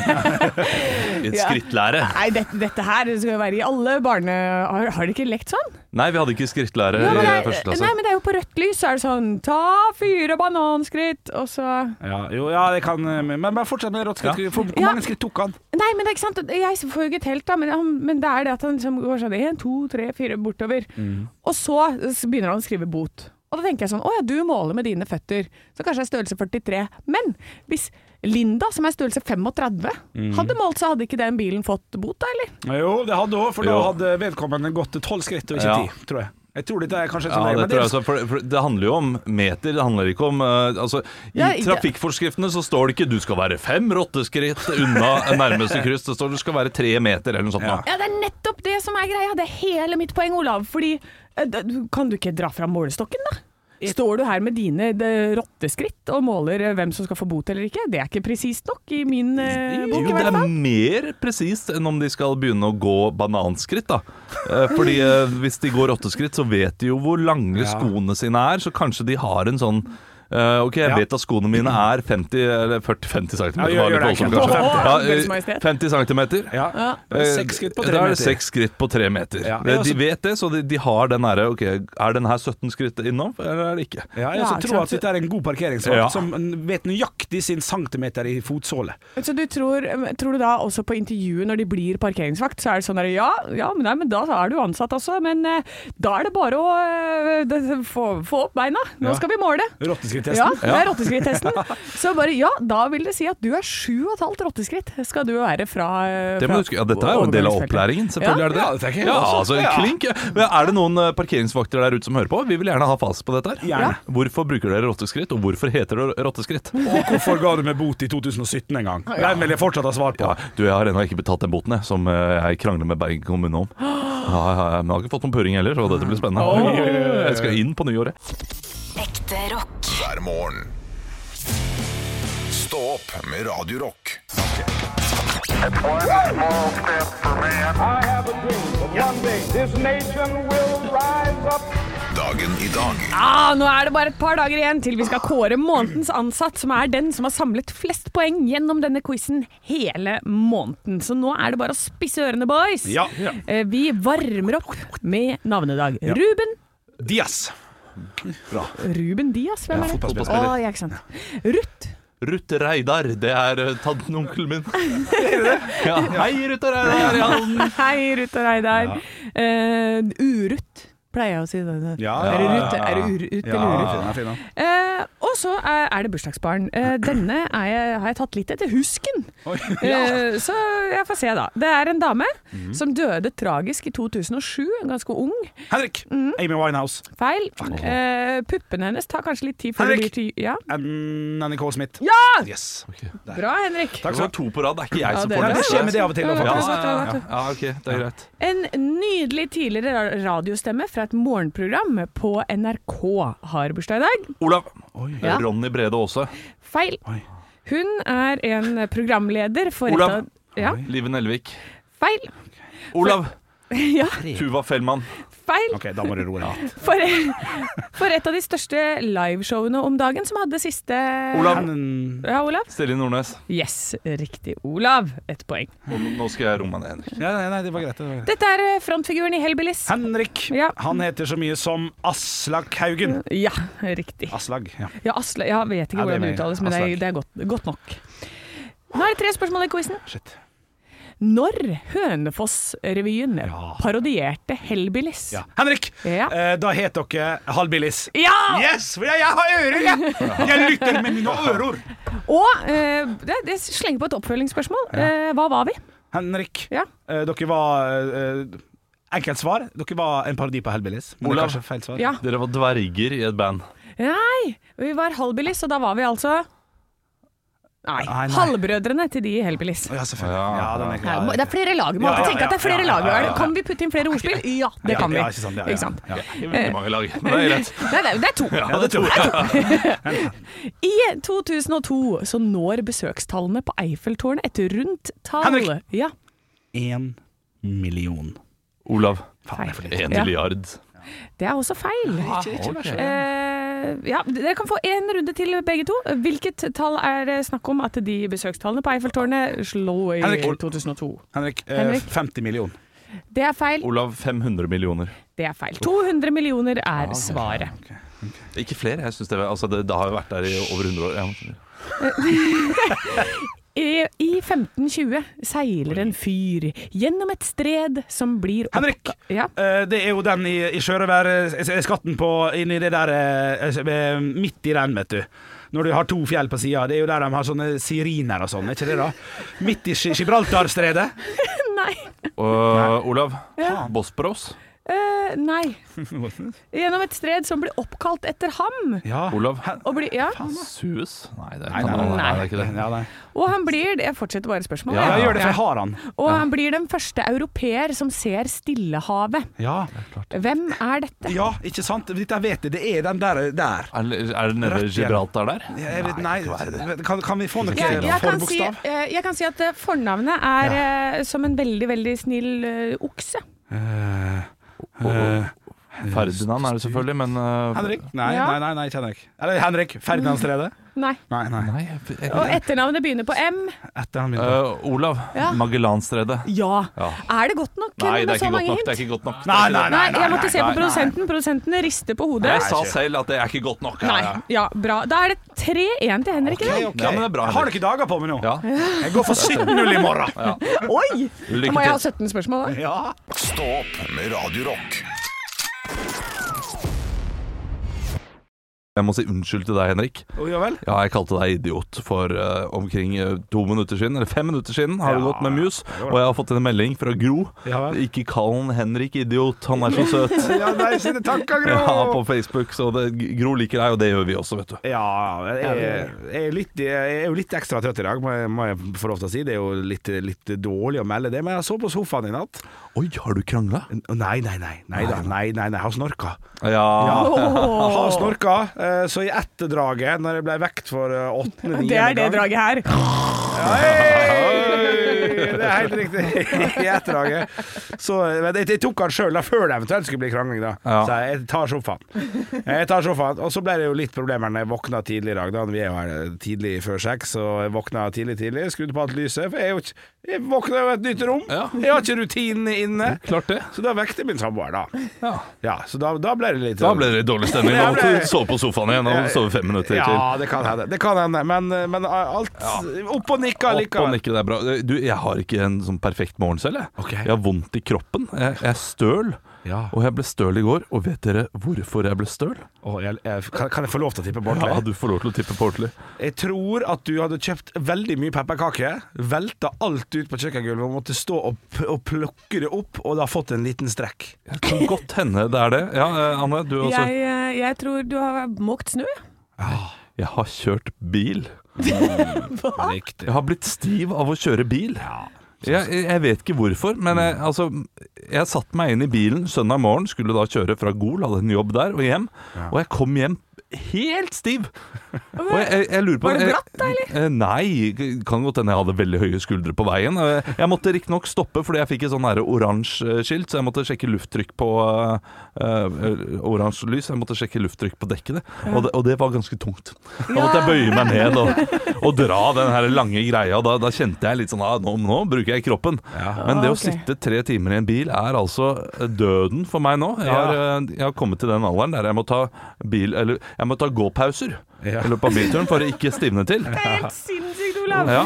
C: eh, i et
E: Ja.
C: skrittlære.
E: Nei, dette, dette her skal jo være i alle barne... Har, har de ikke lekt sånn?
C: Nei, vi hadde ikke skrittlære
E: Ja, men
C: i
E: det,
C: første
E: er-
C: klasse.
E: nei, men det er jo på rødt lys, så er det sånn Ta fire bananskritt, og så
D: Ja, jo, ja, det kan eh, Men bare fortsett med rotteskritt. For Hvor
E: Ja.
D: mange skritt tok han?
E: Nei, men det er ikke sant. Jeg får jo ikke telt, da, men, han, men det er det at han liksom går sånn én, to, tre, fire bortover.
C: Mm.
E: Og så, så begynner han å skrive bot. Og da tenker jeg sånn Å ja, du måler med dine føtter, så kanskje jeg er størrelse 43. Men hvis Linda, som er størrelse 35,
C: Mm.
E: hadde målt, så hadde ikke den bilen fått bot, da, eller?
D: Jo, det hadde òg, for da
C: Jo.
D: hadde vedkommende gått tolv skritt og ikke
C: Ja.
D: ti, tror jeg. Jeg tror dette er kanskje
C: Ja,
D: sånn
C: det, tror jeg,
D: men
C: også, for, for det handler jo om meter, det handler ikke om eh, altså, I
E: Ja, i-
C: trafikkforskriftene så står det ikke 'du skal være fem rotteskritt unna nærmeste kryss', det står 'du skal være tre meter' eller noe sånt. nå.
E: Ja, det er nettopp det som er greia. Det er hele mitt poeng, Olav. Fordi eh, da- du- Kan du ikke dra fram målestokken, da? Står du her med dine de, rotteskritt og måler eh, hvem som skal få bot eller ikke? Det er ikke presist nok i min
C: Jo,
E: eh, bok, i
C: det
E: hvert
C: er
E: fall.
C: mer presist enn om de skal begynne å gå bananskritt, da. Eh, Fordi eh, hvis de går åtteskritt, så vet de jo hvor lange skoene sine er, så kanskje de har en sånn Eh, ok, jeg
D: Ja.
C: vet at skoene mine er 50 eller 40-50 cm.
D: Ja, gjør- gjør det, Kent.
E: Åh, Deres
C: Ja,
E: Majestet.
C: eh, 50 cm.
D: Ja. Det er seks skritt på tre
C: Da er det
D: meter.
C: seks skritt på tre meter.
D: Ja.
C: Eh, De vet det, så de, de har den derre Ok, er den her 17 skritt innom, eller er det ikke?
D: Ja, jeg
E: Ja,
D: også
E: ikke
D: tror
E: sant?
D: at dette er en god parkeringsvakt
C: Ja.
D: som vet nøyaktig sin centimeter i fotsåle.
E: Så du tror, tror du da også på intervjuet når de blir parkeringsvakt, så er det sånn der ja, ja men, nei, men da er du ansatt altså, men eh, da er det bare å eh, det- få, få opp beina. Nå
D: Ja.
E: skal vi måle. Ja,
D: Rotteskrittesten.
E: det er rotteskrittesten. Så bare ja, da vil det si at du er sju og et halvt rotteskritt skal du være fra, eh,
C: Det må
E: fra
C: du huske. Ja, dette er jo en del av opplæringen. Selvfølgelig
E: Ja.
C: er det det.
D: Ja, det tenker jeg
C: ja,
D: også.
C: altså,
D: Ja.
C: klink. Men er det noen eh, parkeringsvakter der ute som hører på? Vi vil gjerne ha fasit på dette. her
D: Gjerne.
C: Hvorfor bruker dere rotteskritt, og hvorfor heter det rotteskritt?
D: Og hvorfor ga du meg bot i 2017 en gang? Den vil jeg fortsatt ha svar på.
C: Ja, du, jeg har ennå ikke betalt den boten jeg, som eh, jeg krangler med Bergen kommune om. Ja, ja, ja, men jeg har ikke fått noen purring heller, så dette blir spennende. Jeg skal inn på nyåret.
F: Ekte rock.
B: hver morgen. Stå opp med Radio Rock.
G: I have a dream that one day this nation will rise up.
B: Dagen i dag
E: Ah, nå er det bare et par dager igjen til vi skal kåre månedens ansatt, som er den som har samlet flest poeng gjennom denne quizen hele måneden. Så nå er det bare å spisse ørene, boys.
D: Ja. Ja.
E: Eh, Vi varmer opp med navnedag. Ruben.
D: Dias.
E: Ruben Dias, hvem er det? Å,
C: fotballspiller.
E: ja, ikke sant. Ruth.
C: Ruth Reidar, det er eh, tanten og onkelen min. Ja, hei, Ruth og Reidar. Ja.
E: Hei, Ruth og Reidar. Eh, Uruth, pleier jeg å si. Det.
D: Ja,
E: er det
D: ja,
E: Ruth, er det Uruth eller Uruth? Eh, og så er, er det bursdagsbarn. Eh, denne er jeg, har jeg tatt litt etter husken. Eh, så jeg får se, da. Det er en dame
D: Mhm.
E: som døde tragisk i 2007. Ganske ung.
D: Henrik.
E: Mm.
D: Amy Winehouse.
E: Feil. Eh, puppene hennes tar kanskje litt tid før de blir
D: Henrik!
E: til Ja,
D: Anna Nicole Smith.
E: ja!
D: Yes.
E: bra, Henrik.
C: Det var to på rad, det er ikke jeg
E: Ja,
C: som
E: det-
C: får
E: Nei,
D: Det skjer med det av og til.
E: Ja,
D: faktisk.
E: det var godt, det var godt.
C: Ja, ok, det er greit.
E: En nydelig tidligere ra- radiostemme fra et morgenprogram på NRK har bursdag i dag.
C: Olav.
E: Ja.
C: Ronny Brede Aase.
E: Feil.
D: Oi.
E: Hun er en programleder for
C: Olav.
E: et av Ja,
C: Live Nelvik.
E: feil.
C: Olav.
E: Ja,
C: Tuva Fellmann.
E: feil.
D: Ok, da må du roe deg.
E: For, for et av de største liveshowene om dagen som hadde siste
C: Olav.
D: Men-
E: Ja, Olav?
C: Silje Nordnes.
E: Yes, riktig. Olav. Ett poeng.
C: Og nå skal jeg romme ned Henrik.
D: Ja, nei, nei, det var greit. Det var greit.
E: Dette er eh, frontfiguren i Hellbillies.
D: Henrik.
E: Ja.
D: Han heter så mye som Aslak Haugen.
E: Ja, riktig.
D: Aslag, ja.
E: Ja, Asle, jeg vet ikke
D: Ja,
E: hvordan det
D: det mener jeg.
E: uttales, men det er,
D: Aslak.
E: det er godt, godt nok. Nå er det tre spørsmål i quizen.
D: Shit.
E: Når Hønefoss-revyen parodierte Hellbillies?
D: Ja. Henrik,
E: Ja.
D: Eh, da heter dere Halvbillis.
E: Ja!
D: Yes, for jeg, jeg har ører, jeg! Jeg lytter med mine ører.
E: Og eh, det, det slenger på et oppfølgingsspørsmål. Eh, hva var vi?
D: Henrik,
E: Ja.
D: eh, dere var eh, Enkelt svar. Dere var en parodi på Hellbillies. Men det
C: Olav.
D: er kanskje feil svar.
E: Ja.
C: Dere var dverger i et band.
E: Nei, vi var Hallbillies, og da var vi altså Nei,
D: Nei, nei.
E: halvbrødrene til de i Hellbillies.
D: Ja, selvfølgelig.
C: Ja.
D: Ja, den er
E: Nei,
D: klar.
E: må- Det er flere lag. Vi må
D: Ja,
E: alltid
D: ja,
E: tenke at det er flere
D: ja, ja,
E: lag.
D: ja, ja, ja.
E: Kan vi putte inn flere ordspill? Ja, det kan vi.
D: Ja, ikke sant. Ja, ja,
E: Ikke sant? Eh,
D: Ja.
C: Det er veldig mange lag. Men det er greit.
E: Nei, det er- det er to.
D: Ja, det tror jeg.
E: I 2002 så når besøkstallene på Eiffeltårnet et rundt tall.
D: Henrik!
E: Ja,
D: Én million.
C: Olav.
D: Faen, det er for lite.
C: En
E: Ja.
C: milliard.
E: det er også feil.
C: Ok.
E: Eh, ja, dere kan få én runde til begge to. Hvilket tall er det snakk om at de besøkstallene på Eiffeltårnet slo i
D: Henrik.
E: 2002?
D: Henrik, eh,
E: Henrik.
D: 50 million.
E: Det er feil.
C: Olav 500 millioner.
E: Det er feil. 200 millioner er svaret.
C: Ikke flere. jeg synes det, var- altså det, det har jo vært der i over 100 år. Ja.
E: I, I 1520 seiler en fyr gjennom et stred som blir opp-
D: Henrik!
E: Ja.
D: Eh, det er jo den i, i sjørøverskatten på Inni det der eh, eh, Midt i den, vet du. Når du har to fjell på sida. Det er jo der de har sånne siriner og sånn, er ikke det da? Midt i Gi- Gibraltarstredet. Eh.
E: Nei.
C: Og, Olav. Bosporos.
E: Eh, nei. Gjennom et stred som blir oppkalt etter ham.
D: Ja.
C: Olav.
E: Og, blir, ja.
C: Suez? Nei, det er,
D: Nei, nei,
C: Kanada,
E: nei.
C: det er ikke det.
D: Ja, nei.
E: og han blir Jeg fortsetter bare spørsmålet.
D: Ja,
E: jeg.
D: jeg gjør det, for jeg har han.
E: Og han blir den første europeer som ser Stillehavet.
D: Ja,
E: Hvem er dette?
D: ja ikke sant? Dette vet jeg. Det er den der. der.
C: Er, det- er det nede
D: Rett
C: i
D: igjen.
C: Gibraltar der?
D: Jeg vet, nei,
C: ikke være det.
D: kan, kan vi få noe
E: Jeg, jeg, kan si,
D: forbokstav?
E: eh, jeg kan si at eh, fornavnet er eh, som en veldig, veldig snill eh, okse.
D: Eh, eh,
C: Ferdinand er det selvfølgelig, men eh,
D: Henrik? Nei,
E: Ja.
D: nei, nei, nei, kjenner jeg ikke. Eller Henrik Ferdinand Strede?
E: Nei.
D: Nei, nei.
C: Nei, jeg- jeg-
E: Og etternavnet begynner på M.
D: Etter han begynte.
C: Eh, Olav.
E: Ja.
C: Magellanstredet.
E: Ja.
C: Ja.
E: Er det godt nok?
C: Nei,
E: med
C: det er
E: så
C: ikke godt
E: mange
C: nok.
E: hint?
C: Det er ikke godt nok.
D: Nei, nei,
E: Nei, jeg måtte se
C: nei,
E: på
C: nei.
E: produsenten. Produsenten rister på hodet.
C: Jeg sa selv at det er ikke godt nok. Ja,
E: Nei.
C: ja.
E: Ja, bra. Da er det 3-1 til Henrik i dag.
D: Ok.
C: Ja, men det er bra,
D: Jeg har
C: Henrik.
D: dere dager på meg nå?
C: Ja.
D: Jeg går for 17-0 i morgen.
E: Oi! Da må jeg
C: Lykke
E: ha
C: til.
E: 17 spørsmål, da.
D: Ja.
B: Stå opp med Radio Rock.
C: Jeg må si unnskyld til deg, Henrik.
D: Oh, ja vel?
C: Ja, jeg kalte deg idiot for eh, omkring eh, to minutter siden, eller fem minutter siden, har du
D: Ja.
C: gått med mus, og jeg har fått en melding fra Gro.
D: Ja vel.
C: Ikke kall han Henrik idiot, han er så søt.
D: Ja, nei, sine tanker, Gro.
C: Ja, på Facebook, så det, Gro liker deg, og det gjør vi også, vet du.
D: Ja, jeg, jeg, er litt, jeg er jo litt ekstra trøtt i dag, må jeg, må jeg få lov til å si. Det er jo litt, litt dårlig å melde det, men jeg sov på sofaen i natt.
C: Oi, har du krangla?
D: N- Nei, nei, nei. Nei, da, nei, nei, nei jeg har snorka.
C: Ja.
D: Jeg har snorka, eh, så i etterdraget, når jeg ble vekt for eh, åttende
E: Det er det
D: niende gang-
E: draget her.
D: Hei! Det er helt riktig. I etterdraget. Så men jeg, jeg tok han sjøl før det eventuelt skulle bli krangling, da.
C: Ja.
D: Så jeg tar sofaen. Jeg tar sofaen. Og så ble det jo litt problemer når jeg våkna tidlig i dag. Da. Vi er jo her eh, tidlig før seks, så jeg våkna tidlig tidlig, skrudde på alt lyset. For jeg, er jo ikke, jeg våkna jo i et nytt rom.
C: Ja.
D: Jeg har ikke rutinene inne.
C: Klart det.
D: Så da vekte min samboer, da.
C: Ja.
D: Ja, så da, da ble det litt
C: Da ble det dårlig stemning. Da måtte du sove på sofaen igjen og sove fem minutter til.
D: Ja, det kan hende. Det kan hende. Men, eh, men alt Opp og nikka
C: Opp og
D: likevel.
C: nikke, det er bra. Du, jeg har ikke en sånn perfekt morgen selv, jeg.
D: Ok.
C: Jeg har vondt i kroppen. Jeg, jeg er støl.
D: Ja.
C: Og jeg ble støl i går, og vet dere hvorfor jeg ble støl?
D: Åh, jeg, jeg, kan, kan jeg få lov til å tippe Bård
C: Ja,
D: Clay?
C: du får lov til å tippe på ordentlig.
D: Jeg tror at du hadde kjøpt veldig mye pepperkaker, velta alt ut på kjøkkengulvet og måtte stå og, p og plukke det opp, og da fått en liten strekk.
C: Det kan godt hende det er det. Ja, eh, Anne, du også.
E: Jeg,
C: Jeg,
E: eh, jeg tror du har måkt snø.
C: har kjørt bil.
D: Riktig.
C: Jeg har blitt stiv av å kjøre bil. Jeg, jeg vet ikke hvorfor, men jeg, altså, jeg satte meg inn i bilen søndag morgen, skulle da kjøre fra Gol, hadde en jobb der, og hjem. Og jeg kom hjem helt stiv! Og jeg, jeg, jeg lurer på
E: Var det
C: jeg-
E: glatt da,
C: Eh, Nei, kan godt hende jeg hadde veldig høye skuldre på veien. Eh, Jeg måtte riktignok stoppe fordi jeg fikk et sånn her oransje eh, skilt, så jeg måtte sjekke lufttrykk på eh, eh, Oransje lys, jeg måtte sjekke lufttrykk på dekkene. Og, det, og det var ganske tungt. Da måtte jeg bøye meg ned og, og dra den her lange greia. og Da, da kjente jeg litt sånn ah, nå, nå bruker jeg kroppen. Men det
E: Ah,
C: å
E: ok.
C: sitte tre timer i en bil er altså døden for meg nå. Jeg har, eh, jeg har kommet til den alderen der jeg må ta bil Eller jeg må ta gåpauser
D: Ja.
C: i løpet av bilturen for å ikke stivne til.
E: Det er helt sinnssykt, Olav!
C: Ja.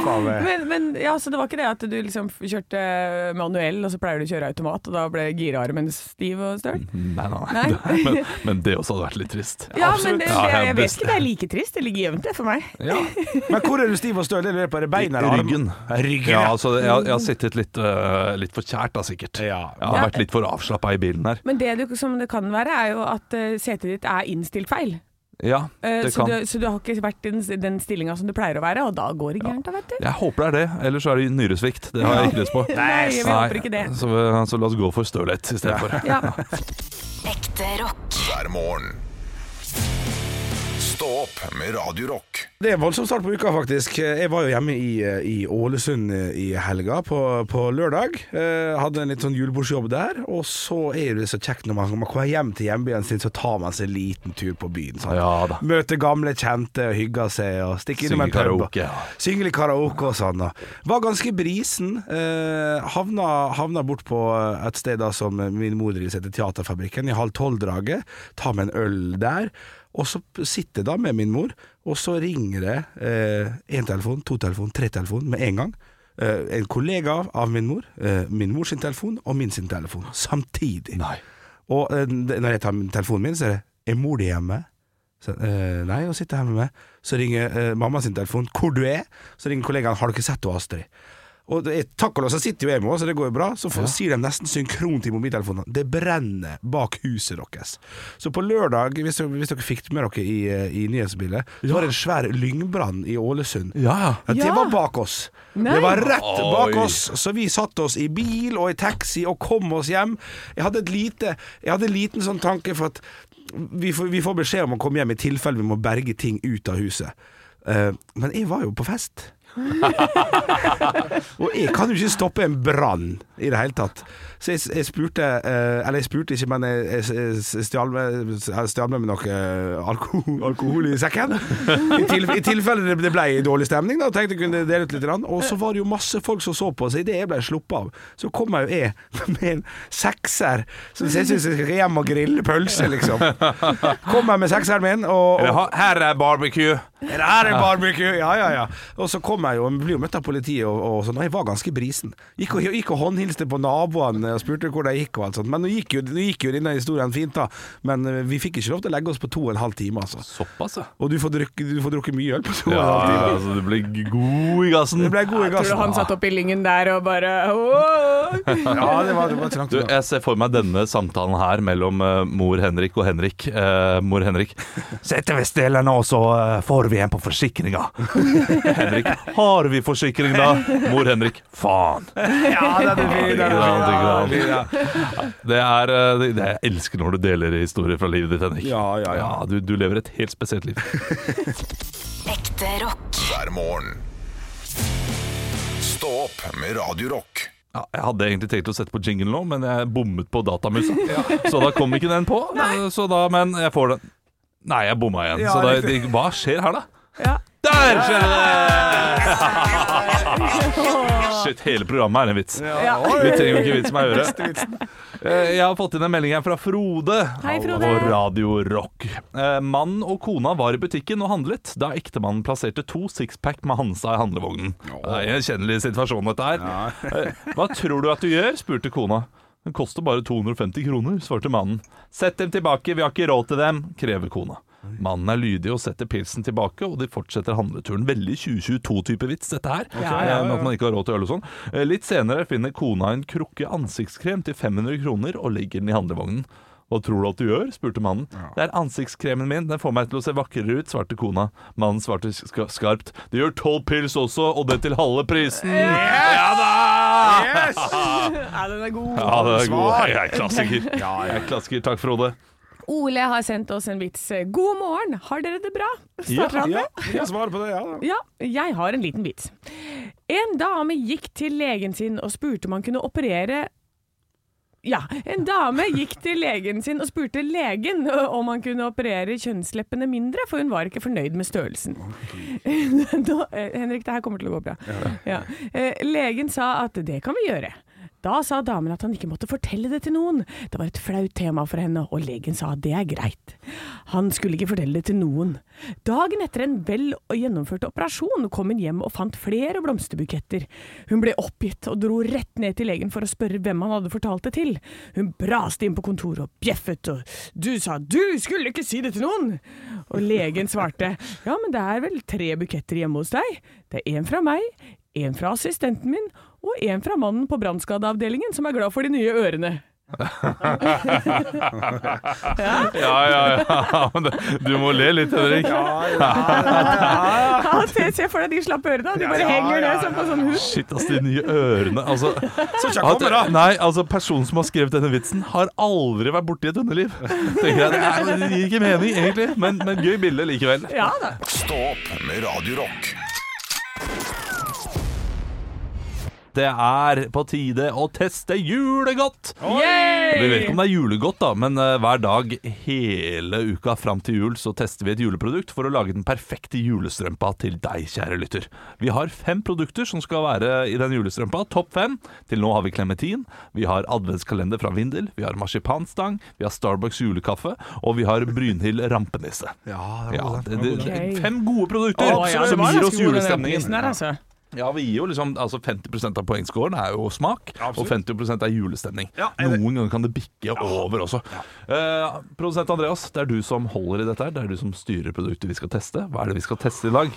E: Men, men ja, så det var ikke det at du liksom kjørte eh, manuell, og så pleier du å kjøre automat, og da ble girarmen stiv og støl?
C: Nei, nei, nei.
E: Nei.
C: Men, men det også hadde vært litt trist.
E: Ja, men det,
C: Ja,
E: det,
C: jeg
E: jeg
C: best-
E: vet ikke, det er like trist. Det ligger jevnt, det, for meg.
C: Ja.
D: Men hvor er du stiv og støl? Det lurer jeg på. Er det bein eller arm?
C: Ryggen.
D: Ryggen,
C: Ja,
D: ja.
C: altså, jeg, jeg har sittet litt, øh, litt for kjært da, sikkert.
D: Ja.
C: Jeg har vært litt for avslappa i bilen her.
E: Men det du, som det kan være, er jo at eh, setet ditt er innstilt feil.
C: Ja,
E: Eh,
C: det
E: så,
C: kan.
E: du, så du har ikke vært i den, den stillinga som du pleier å være, og da går det gærent, da, vet du.
C: Jeg håper det er det, ellers er det nyresvikt. Det har jeg ikke lyst på.
E: Nei, vi håper ikke det.
C: Så, øh, så la oss gå for stølhet istedenfor.
E: Ja.
F: Ekte rock.
B: hver morgen. Stå opp med Radio Rock.
D: Det er en voldsom start på uka, faktisk. Jeg var jo hjemme i, i Ålesund i helga, på, på lørdag. Eh, hadde en litt sånn julebordsjobb der. Og så er det så kjekt når man, man kommer hjem til hjembyen sin, så tar man seg en liten tur på byen. Sånn.
C: Ja da.
D: Møter gamle kjente og hygger seg, og stikker innom
C: Synger
D: en pub.
C: karaoke, ja.
D: Synger litt karaoke og sånn. Og var ganske brisen. Eh, havna, havna bort på eh, et sted da som min mor driver heter Teaterfabrikken, i halv tolv-draget. Tar meg en øl der. Og så sitter jeg da med min mor, og så ringer det én telefon, to telefon, tre telefon med en gang. Eh, en kollega av, av min mor, eh, min mors sin telefon og min sin telefon, samtidig.
C: Nei.
D: Og eh, det- når jeg tar telefonen min, så er det Er mor di hjemme? Så, eh, nei, hun sitter hjemme med meg. Så ringer eh, mamma sin telefon. Hvor du er? Så ringer kollegaen. Har dere sett henne, Astrid? Og det er, takk og lov, så sitter jo jeg med henne, så det går jo bra. Så får, sier de nesten synkront i mobiltelefonene. Det brenner bak huset deres. Så på lørdag, hvis, dere- hvis dere fikk det med dere i, eh, i nyhetsbildet, så var det en svær lyngbrann i Ålesund.
C: Ja, ja.
D: Ja, det
E: Ja.
D: var bak oss.
E: Nei.
D: Det var rett bak
C: Oi.
D: oss. Så vi satte oss i bil og i taxi og kom oss hjem. Jeg hadde, et lite, jeg hadde en liten sånn tanke for at vi får, vi får beskjed om å komme hjem i tilfelle vi må berge ting ut av huset. Eh, men jeg var jo på fest. Og jeg kan jo ikke stoppe en brann i det hele tatt. Så jeg, jeg spurte eh, Eller jeg spurte ikke, men jeg, jeg, jeg stjal med jeg stjal med meg noe eh, alkohol, alkohol i sekken. I, til, I tilfelle det- det ble dårlig stemning, da, tenkte jeg kunne dele ut litt. grann. Og så var det jo masse folk som så på, så idet jeg ble sluppet av, så kom jeg jo jeg med en sekser. Så jeg syns jeg skal hjem og grille pølse, liksom. Kom jeg med sekseren min, og, og
C: Her er barbecue.
D: det her er barbecue! Ja, ja, ja. Og så kom jeg jo, jeg ble jo møtt av politiet og, og sånn, og jeg var ganske brisen. Gikk og, gikk og håndhilste på naboene og spurte hvor de gikk og alt sånt. Men nå gikk jo, nå gikk jo denne historien fint, da. Men eh, vi fikk ikke lov til å legge oss på to og en halv time, altså.
C: Såpass, ja.
D: Og du får drukke, du får drukke mye øl på to og
C: ja
D: en halv time.
C: altså, du blir god i gassen.
D: Det ble god i
E: Tror du
D: gassen.
E: han satt opp i lyngen der og bare «Åh!»
D: Ja, det var, det var ikke langt
C: Du,
D: unna.
C: jeg ser for meg denne samtalen her mellom eh, mor Henrik og Henrik. Eh, mor Henrik. Setter vi stille nå, så eh, får vi en på forsikringa. Henrik. Har vi forsikring, da? Mor Henrik. Faen.
D: Ja, den er fin, den er
C: Ikke
D: fin, ja,
C: sant, ikke sant.
D: fin, ja.
C: Det er eh, det, det Jeg elsker når du deler historier fra livet ditt, Henrik.
D: Ja, ja, ja.
C: du, du lever et helt spesielt liv.
F: Ekte rock.
B: hver morgen. Stå opp med Radio Rock.
C: Ja, jeg hadde egentlig tenkt å sette på jingle nå, men jeg bommet på datamusa. Så da kom ikke den på. eh, Så da, men jeg får den Nei, jeg bomma igjen.
D: Ja,
C: så da,
D: riktig.
C: det- hva skjer her, da?
E: Ja.
C: Der skjer det! Shit, hele programmet er en vits.
E: Ja.
C: Vi trenger jo ikke vits med å gjøre. Eh, Jeg har fått inn en melding her fra Frode
E: Hei, Frode.
C: og Radio Rock. Eh, Mann og kona var i butikken og handlet da ektemannen plasserte to sixpack med Hansa i handlevognen. Det er en kjennelig situasjon, dette her. Eh, Hva tror du at du gjør? spurte kona. Den koster bare 250 kroner, svarte mannen. Sett dem tilbake, vi har ikke råd til dem, krever kona. Mannen er lydig og setter pilsen tilbake, og de fortsetter handleturen. Veldig 2022-type vits, dette her. Eh, med At man ikke har råd til øl og sånn. Eh, Litt senere finner kona en krukke ansiktskrem til 500 kroner og legger den i handlevognen. Hva tror du at du gjør? spurte mannen. Det er ansiktskremen min, den får meg til å se vakrere ut, svarte kona. Mannen svarte ska skarpt. Det gjør tolv pils også, og det til halve prisen. Ja da!
E: ja, den er god.
C: Ja, det er god. Jeg er klassiker. Jeg er klassiker. Takk, Frode.
E: Ole har sendt oss en vits. God morgen, har dere det bra? Starter han
D: Ja,
E: med?
D: jeg svarer på det, ja. da.
E: Ja, jeg har en liten vits. En dame gikk til legen sin og spurte om han kunne operere ja, En dame gikk til legen sin og spurte legen om han kunne operere kjønnsleppene mindre, for hun var ikke fornøyd med størrelsen. Da, eh, Henrik, det her kommer til å gå bra. Ja. Eh, Legen sa at det kan vi gjøre. Da sa damen at han ikke måtte fortelle det til noen. Det var et flaut tema for henne, og legen sa at det er greit. Han skulle ikke fortelle det til noen. Dagen etter en vel og gjennomført operasjon kom hun hjem og fant flere blomsterbuketter. Hun ble oppgitt og dro rett ned til legen for å spørre hvem han hadde fortalt det til. Hun braste inn på kontoret og bjeffet, og du sa du skulle ikke si det til noen! Og legen svarte ja, men det er vel tre buketter hjemme hos deg. Det er en fra meg, en fra assistenten min, og en fra mannen på brannskadeavdelingen som er glad for de nye ørene.
C: Ja, ja, ja. Du må le litt, Henrik.
E: Ja, se, se for deg de slappe ørene, de bare
D: Ja,
E: henger
D: ja,
E: ned som på sånn hus.
C: Shit, ass, de nye ørene. Altså,
D: Så
C: at,
D: ikke kommer, da.
C: nei, altså, personen som har skrevet denne vitsen, har aldri vært borti et underliv. Tenker jeg, Det er- det gir ikke mening, egentlig, men, men gøy bilde likevel.
E: Ja da.
B: Stå opp med Radio Rock.
C: Det er på tide å teste julegodt. Vi vet
E: Yay!
C: ikke om det er julegodt, da, men eh, hver dag hele uka fram til jul så tester vi et juleprodukt for å lage den perfekte julestrømpa til deg, kjære lytter. Vi har fem produkter som skal være i den julestrømpa. Topp fem. Til nå har vi klementin, vi har adventskalender fra Vindel, vi har marsipanstang, vi har Starbucks julekaffe, og vi har Brynhild rampenisse.
D: Ja,
C: Ja, det, det,
E: Ok.
C: fem gode produkter
E: Å, ja, det
C: som
E: var
C: gir oss
E: ganske god den
C: julestemningen.
E: prisen her, altså.
C: Ja, vi gir jo liksom altså 50 av poengscoren er jo smak, og 50 er julestemning.
D: Ja, er det-
C: Noen ganger kan det bikke over også. Eh, produsent Andreas, det er du som holder i dette her. Det er du som styrer produktet vi skal teste. Hva er det vi skal teste i dag?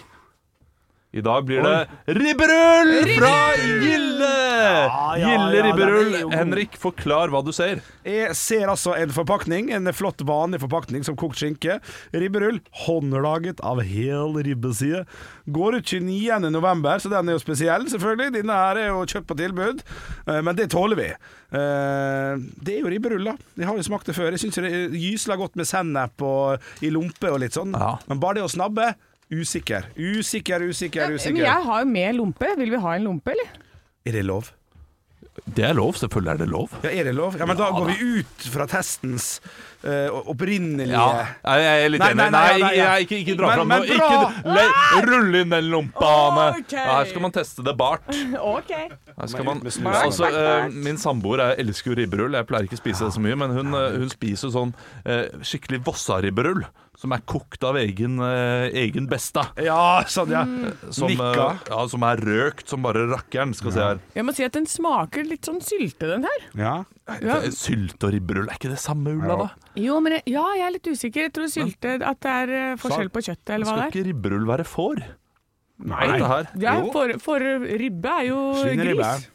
C: I dag blir det ribberull fra Gille!
D: ja,
C: Gille
D: ja, den er
C: ribberull.
D: jo god.
C: Henrik, forklar hva du ser.
D: Jeg ser altså en forpakning, en flott vanlig forpakning som kokt skinke. Ribberull, håndlaget av hel ribbeside. Går ut 29. november, så den er jo spesiell, selvfølgelig. Denne her er jo kjøpt på tilbud, eh, men det tåler vi. Eh, Det er jo ribberull, da. Jeg har jo smakt det før. Jeg syns det gysler godt med sennep og i lompe og litt sånn,
C: Ja.
D: men bare det å snabbe Usikker, usikker, usikker.
E: Men
D: usikker
E: jeg har jo med lompe. Vil vi ha en lompe, eller?
D: Er det lov?
C: Det er lov, selvfølgelig er det lov.
D: Ja, er det lov? Ja, men da går vi ut fra testens eh, opprinnelige
C: Ja, jeg jeg er litt
D: Nei,
C: enig.
D: nei,
C: Nei,
D: nei, nei, ja.
C: jeg- ikke, ikke dra
D: Men-
C: fram
D: men
C: noe.
D: bra!
C: Ikke
D: Ah!
C: le, rulle inn den lompa, Anne.
E: Ok.
C: Ja, Her skal man teste det bart.
E: OK.
C: Her skal man,
D: Men ut med smak.
C: altså, eh, min samboer jeg elsker jo ribberull. Jeg pleier ikke å spise det så mye, men hun, eh, hun spiser jo sånn eh, skikkelig Vossa-ribberull. Som er kokt av egen, eh, egen besta.
D: Ja, sånn, ja.
E: Mm.
C: Som, eh,
D: Nikka.
C: ja, som er røkt som bare rakkeren. Skal vi se her.
E: Jeg må si at den smaker litt sånn sylte, den her.
D: ja.
E: Ja.
C: Eh, Sylt og ribberull, er ikke det samme ulla, da?
E: Jo, men jeg, ja, jeg er litt usikker. Jeg tror sylte At det er eh, forskjell på kjøttet, eller hva
C: Skal
E: det er.
C: ikke ribberull være får?
D: Nei.
C: Dette her.
E: Ja, for, for ribbe er jo
D: Svineribbe.
E: gris.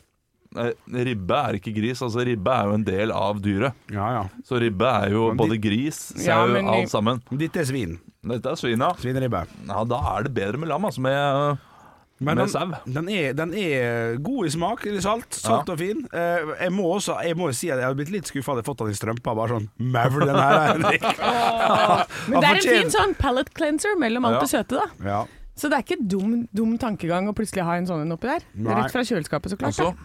C: Eh, Ribbe er ikke gris. Altså, ribbe er jo en del av dyret.
D: Ja, ja.
C: Så ribbe er jo
D: Men de-
C: både gris, sau,
E: Ja, men i-
C: alt sammen.
D: Dette er svin.
C: Dette er svina.
D: Svineribbe.
C: Ja, da er det bedre med lam, altså. Med eh, Med
D: Men den-
C: sau.
D: Den, er- den er god i smak. Litt salt salt og fin. Eh, jeg må også jeg må jo si at jeg hadde blitt litt skuffa hadde jeg fått den i strømpa. Bare sånn Maur, den her, Henrik.
E: Men det er en
D: fortjener-
E: fin sånn palate cleanser mellom alt
C: Ja.
E: det søte, da.
D: Ja.
E: Så det er ikke dum, dum tankegang å plutselig ha en sånn en oppi der.
D: Nei.
E: Rett fra kjøleskapet, så klart.
C: Altså,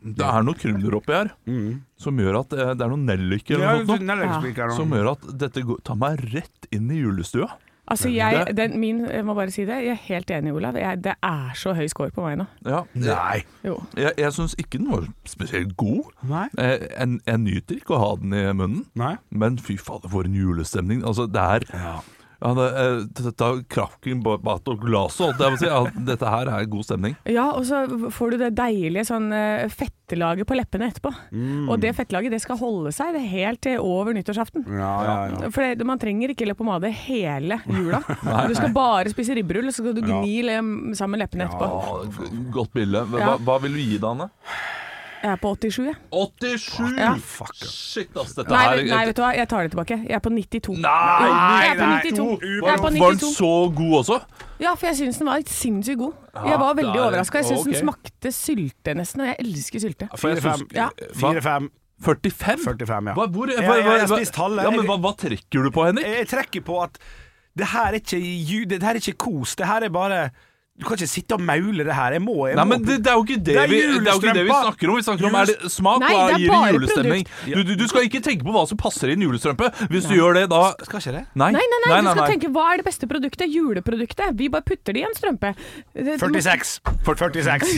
C: det er noe krummer oppi her som gjør at eh, det er noen nelliker
D: Ja,
C: eller noe sånt.
D: den er løkspriker nå.
C: nå, Som gjør at dette går, tar meg rett inn i julestua.
E: da. Altså, jeg,
C: Det-
E: den, min, jeg må bare si det, jeg er helt enig, Olav. Jeg, det er så høy score på meg nå.
C: Ja,
D: Nei.
E: Jo.
C: jeg jeg syns ikke den var spesielt god.
D: Nei.
C: Eh, Jeg, jeg nyter ikke å ha den i munnen.
D: Nei.
C: Men fy fader, for en julestemning. Altså, det er ja, det, eh, Dette er krakken bak og glaset, holdt jeg på å si. Ja, dette her er god stemning.
E: Ja, og så får du det deilige sånn eh, fettelaget på leppene etterpå.
C: Mm.
E: Og det fettlaget det skal holde seg det er helt til over nyttårsaften.
D: Ja, ja, ja.
E: For det, man trenger ikke leppepomade hele jula. Du skal bare spise ribberull, og så skal du gni lem- sammen leppene etterpå.
C: Ja, g- godt bilde. Hva,
E: Ja.
C: hva vil du gi det, Anne?
E: Jeg er på 87, jeg.
C: 87!
E: Ja.
D: Fuck.
C: Shit, ass, dette
E: Nei,
C: her
E: vet- nei, vet du hva, jeg tar det tilbake. Jeg er på 92.
C: Nei,
E: jeg er på
D: nei,
E: 92.
D: nei.
E: Jeg er på
C: Var den
E: 92.
C: så god også?
E: Ja, for jeg syns den var sinnssykt god. Jeg var veldig
C: da er det-
E: overraska. Jeg syns
C: ok.
E: den smakte sylte nesten, og jeg elsker sylte.
C: For jeg syns-
D: 4-5. Ja.
C: Hva?
D: 4-5.
C: 45?
D: 45, ja.
C: Hva, hvor,
D: Ja,
C: hva,
D: ja, jeg har
C: hva-
D: spist halve.
C: Ja, men hva, hva trekker du på, Henrik?
D: Jeg trekker på at det her er ikke, ju- det her er ikke kos. Det her er bare Du kan ikke sitte og maule det her. Jeg må, jeg
C: Nei,
D: må
C: men det, det, er jo ikke det,
D: Det er
C: vi, det er jo ikke det vi
D: julestrømpa.
C: snakker om. Vi snakker om er det smak
E: Nei,
C: og
E: det er
C: gir det
E: bare
C: julestemning. Du, du, du skal ikke tenke på hva som passer i en julestrømpe. Hvis du gjør det, da
D: Skal ikke det?
C: Nei,
E: Nei, nei, nei, du skal tenke hva er det beste produktet? Juleproduktet. Vi bare putter det i en strømpe. Eh, Det-
D: 46. For 46.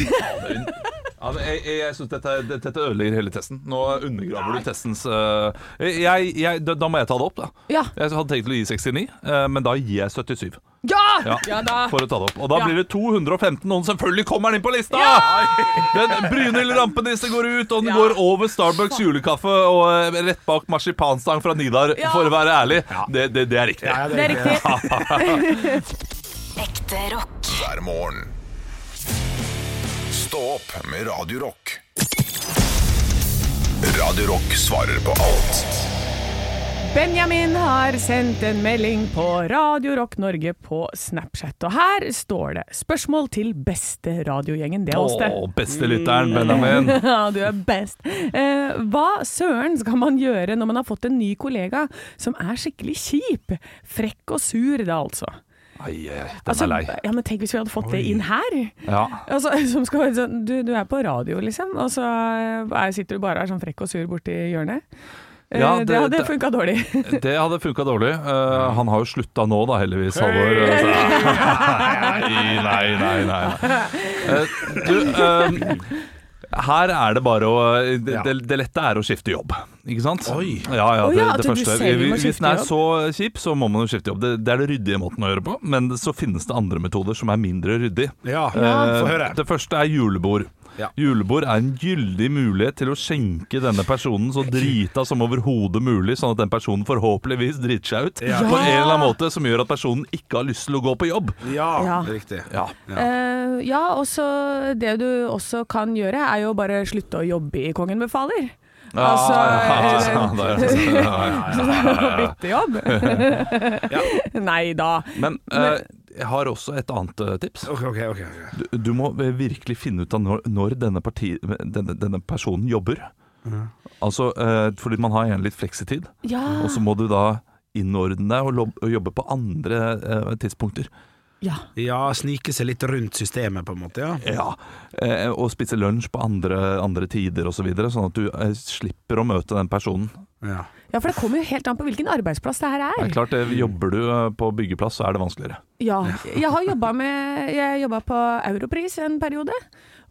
C: Ja, men jeg jeg, jeg syns dette, dette dette ødelegger hele testen. Nå undergraver du testens øh, jeg, jeg, da, da må jeg ta det opp, da.
E: Ja.
C: Jeg hadde tenkt å gi 69, øh, men da gir jeg 77
E: Ja!
C: Ja.
E: ja da.
C: for å ta det opp. Og da
E: Ja.
C: blir det 215, og selvfølgelig kommer den inn på lista! Den Brynhild Rampenisse går ut, og den
E: Ja.
C: går over Starbucks julekaffe og øh, rett bak marsipanstang fra Nidar,
E: Ja.
C: for å være ærlig. Det, det, det er riktig.
E: Det er riktig.
F: Ekte rock.
B: hver morgen. Stå opp med Radio Rock. Radio Rock svarer på alt
E: Benjamin har sendt en melding på Radio Rock Norge på Snapchat, og her står det 'Spørsmål til beste radiogjengen'. Det er oss, det. Mm.
C: Å, beste lytteren, Benjamin.
E: Ja, du er best. Eh, hva søren skal man gjøre når man har fått en ny kollega som er skikkelig kjip? Frekk og sur, da altså.
C: Ai, ai, ai, den
E: altså
C: er lei.
E: ja, men tenk hvis vi hadde fått det inn her.
C: Ja.
E: Altså, som skal være sånn, du, du er på radio, liksom, og så eh, er, sitter du bare og er sånn frekk og sur borti hjørnet. Eh,
C: Ja,
E: det,
C: det-
E: hadde
C: det-
E: funka dårlig.
C: Det hadde funka dårlig. Eh, han har jo slutta nå, da, heldigvis, Halvor. Så- Nei, nei, nei. nei. Eh, du, eh, her er det bare å det, det, det lette er å skifte jobb, ikke sant? Oi. Ja, ja,
E: Å
C: det,
E: ja,
C: det
E: at du
C: første.
E: selv må
C: Hvis den
E: skifte
C: er så kjip, så må man jo skifte jobb. Det, det er den ryddige måten å gjøre på, men så finnes det andre metoder som er mindre ryddig.
D: Ja,
C: Eh,
D: få høre.
C: Det første er julebord.
D: Ja.
C: Julebord er en gyldig mulighet til å skjenke denne personen så drita som overhodet mulig, sånn at den personen forhåpentligvis driter seg ut på en eller annen måte som gjør at personen ikke har lyst til å gå på jobb.
D: Ja,
E: Ja.
D: det er riktig.
C: Ja.
E: Eh, ja, og så det du også kan gjøre, er jo bare slutte å jobbe i Kongen befaler. Altså,
C: Ah, ja,
E: eh,
C: ja, det er-
E: bytte jobb. Nei da.
C: Men eh, jeg har også et annet eh, tips.
D: Ok, ok, ok. ok.
C: Du, du må eh, virkelig finne ut av når, når denne, parti, denne, denne
D: Mm.
C: personen jobber. Altså, eh, fordi man har gjerne litt fleksetid.
E: Ja.
C: Og så må du da innordne deg og, lob- og jobbe på andre eh, tidspunkter.
E: Ja.
D: Ja, snike seg litt rundt systemet, på en måte. ja
C: Ja, eh, Og spise lunsj på andre, andre tider osv., så videre, sånn at du eh, slipper å møte den personen.
D: Ja.
E: ja, for det kommer jo helt an på hvilken arbeidsplass det her
C: Det er
E: er.
C: klart, eh, Jobber du eh, på byggeplass, så er det vanskeligere.
E: Ja, jeg har jobba med Jeg jobba på Europris en periode,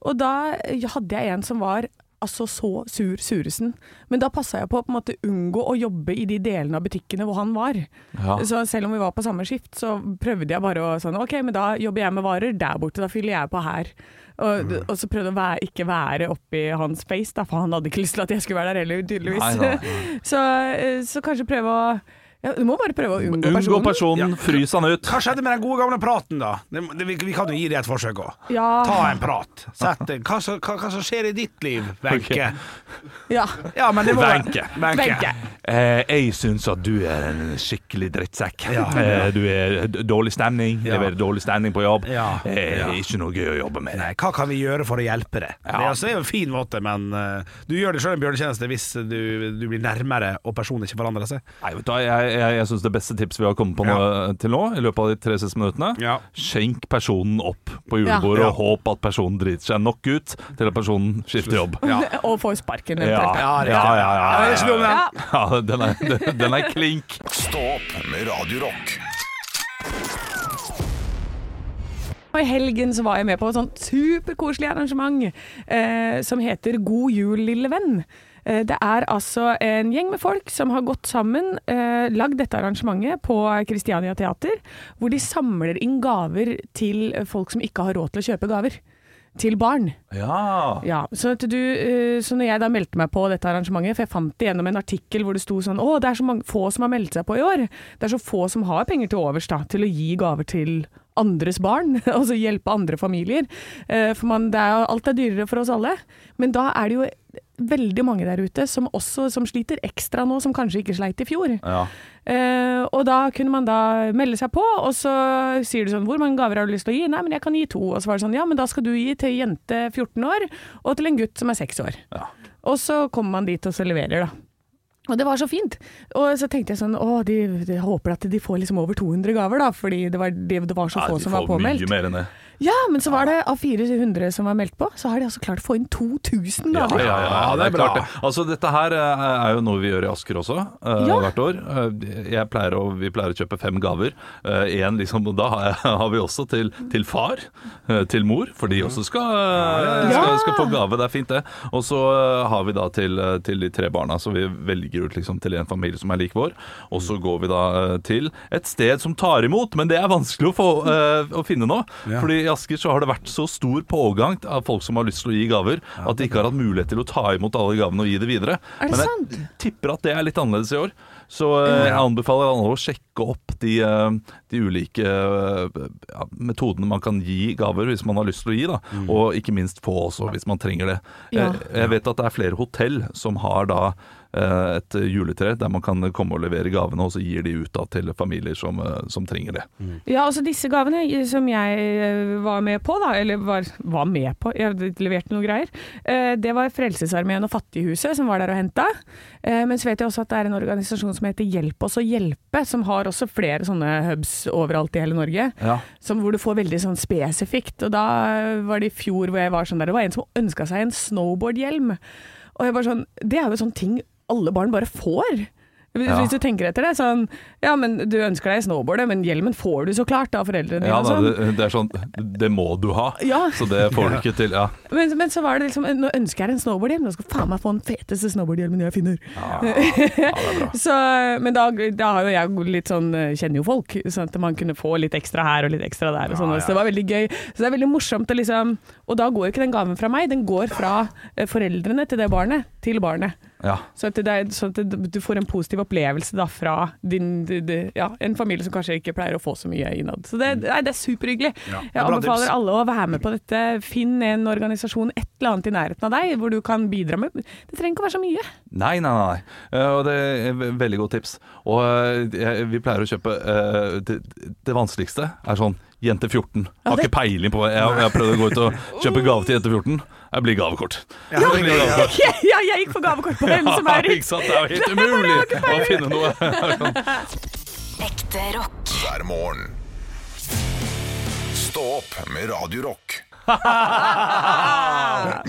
E: og da hadde jeg en som var altså så sur suresen. Men da passa jeg på å på en måte unngå å jobbe i de delene av butikkene hvor han var.
C: Ja.
E: Så selv om vi var på samme skift, så prøvde jeg bare å sånn OK, men da jobber jeg med varer der borte, da fyller jeg på her. Og, og så prøvde jeg å være, ikke være oppi hans space, da, for han hadde ikke lyst til at jeg skulle være der heller, tydeligvis.
C: Nei,
E: så, eh, så kanskje prøve å ja, Du må bare prøve å unngå,
C: Unngå
E: personen.
C: personen, frys han ut.
D: Hva skjedde med den gode gamle praten, da? Det, det, vi, vi kan jo gi det et forsøk òg.
E: Ja.
D: Ta en prat. Sett deg. Hva, som- hva, hva som skjer i ditt liv, Wenche?
E: Ja.
D: Ja, men det må
C: Wenche.
E: Benke.
C: Eh, jeg syns at du er en skikkelig drittsekk. Eh, du er d- dårlig stemning,
D: Ja.
C: leverer dårlig stemning på jobb.
D: Ja.
C: Eh,
D: Ja.
C: Ikke noe gøy å jobbe med.
D: Nei, hva kan vi gjøre for å hjelpe deg? Det er, altså, det er jo en fin måte, men eh, du gjør det sjøl en bjørnetjeneste hvis du, du blir nærmere og personen ikke forandrer seg.
C: Nei, vet du, hva, jeg, jeg, jeg syns det beste tips vi har kommet på nå, til nå, i løpet av de tre siste minuttene
D: Ja.
C: Skjenk personen opp på julebordet
D: Ja.
C: og håp at personen driter seg nok ut til at personen skifter jobb.
E: Og får sparken,
C: Ja,
E: eventuelt.
C: ja, ja.
D: Ja, det er
C: ja,
D: ikke noe med den.
E: Ja.
C: ja. ja den, er, den er klink.
B: Stå opp med Radio Rock.
E: Og I helgen så var jeg med på et sånt superkoselig arrangement eh, som heter God jul, lille venn. Eh, det er altså en gjeng med folk som har gått sammen, eh, lagd dette arrangementet på Kristiania Teater, hvor de samler inn gaver til folk som ikke har råd til å kjøpe gaver. Til barn.
C: Ja.
E: Ja, så, at du, eh, så når jeg da meldte meg på dette arrangementet, for jeg fant det gjennom en artikkel hvor det sto sånn Å, det er så mange, få som har meldt seg på i år. Det er så få som har penger til overs da, til å gi gaver til andres barn, og så hjelpe andre familier. Eh, For man, det er, jo- alt er dyrere for oss alle. Men da er det jo veldig mange der ute som også som sliter ekstra nå, som kanskje ikke sleit i fjor. Eh, og da kunne man da melde seg på, og så sier du sånn Hvor mange gaver har du lyst til å gi? Nei, men jeg kan gi to. Og så var det sånn Ja, men da skal du gi til jente 14 år, og til en gutt som er 6 år. Og så kommer man dit og så leverer, da. Og det var så fint. Og så tenkte jeg sånn Å, de, de håper at de får liksom over 200 gaver, da, fordi det var, det, det var så
C: Ja,
E: få
C: de
E: som var
C: får
E: påmeldt.
C: Mye mer enn det.
E: Ja, men så var det av 400 som var meldt på, så har de altså klart å få inn 2000
C: Ja,
E: gaver.
C: ja, ja, ja, det er
D: bra.
C: klart det. Altså, dette her eh, er jo noe vi gjør i Asker også, eh,
E: Ja.
C: hvert år. Eh, Jeg pleier å, vi pleier å kjøpe fem gaver. Eh, en, liksom, og da har jeg- har vi også til, til far, eh, til mor, for de også skal, eh, skal, skal få gave. Det er fint, det. Og så eh, har vi da til, eh, til de tre barna, så vi velger ut liksom, til en familie som er lik vår. Og så går vi da eh, til et sted som tar imot, men det er vanskelig å, få, eh, å finne nå. Fordi i Asker så har det vært så stor pågang av folk som har lyst til å gi gaver, at de ikke har hatt mulighet til å ta imot alle gavene og gi det videre.
E: Er det
C: Men jeg
E: sant?
C: tipper at det er litt annerledes i år. Så eh, jeg anbefaler alle å sjekke opp de, eh, de ulike eh, ja, metodene man kan gi gaver hvis man har lyst til å gi, da. og ikke minst få også hvis man trenger det.
E: Mm. Ja.
C: Jeg, jeg vet at det er flere hotell som har da eh, et juletre der man kan komme og levere gavene, og så gir de ut da til familier som, eh, som trenger det.
E: Ja, altså disse gavene eh, som jeg eh, var med på, da, eller var, var med på, jeg hadde levert noen greier, eh, det var Frelsesarmeen og Fattighuset som var der og henta. Eh, Men så vet jeg også at det er en organisasjon som heter Hjelp oss å hjelpe, som har også flere sånne hubs overalt i hele Norge.
C: Ja.
E: Som, hvor du får veldig sånn spesifikt. Og da eh, var det i fjor hvor jeg var sånn der, det var en som ønska seg en snowboardhjelm. Og jeg bare sånn, det er jo sånn ting alle barn bare får. Hvis
C: Ja.
E: hvis du tenker etter det, sånn Ja, men du ønsker deg snowboardet, men hjelmen får du så klart av foreldrene dine.
C: Ja,
E: og
C: da,
E: sånn.
C: det, det er sånn Det må du ha,
E: Ja.
C: så det får du ikke til. Ja.
E: men, men så var det liksom Nå ønsker jeg en snowboardhjelm, nå skal faen meg få den feteste snowboardhjelmen jeg finner. så, men da, da har jo jeg litt sånn Kjenner jo folk, sånn at man kunne få litt ekstra her og litt ekstra der og sånn. Så det var veldig gøy. Så det er veldig morsomt å liksom Og da går ikke den gaven fra meg, den går fra eh, foreldrene til det barnet, til barnet.
C: Ja.
E: Så at, det er, så at det- du får en positiv opplevelse da fra din, d- d- ja, en familie som kanskje ikke pleier å få så mye innad. Så det, nei, det er superhyggelig. Jeg
D: Bra
E: anbefaler
D: tips.
E: alle å være med på dette. Finn en organisasjon, et eller annet i nærheten av deg, hvor du kan bidra med Det trenger ikke å være så mye.
C: Nei, nei, nei. nei. Eh, Og det er ve- veldig godt tips. Og eh, jeg- vi pleier å kjøpe eh, det, det vanskeligste er sånn Jente 14. Har ikke peiling på Jeg, jeg har prøvd å gå ut og kjøpe gave til jente 14. Jeg blir gavekort. Ja, jeg blir gavekort.
E: ja, jeg gikk for gavekort på Hemseberg!
C: ikke sant? Det er jo helt umulig å finne noe.
F: Ekte rock.
B: hver morgen. Stå opp med Radio Rock.
E: Ah!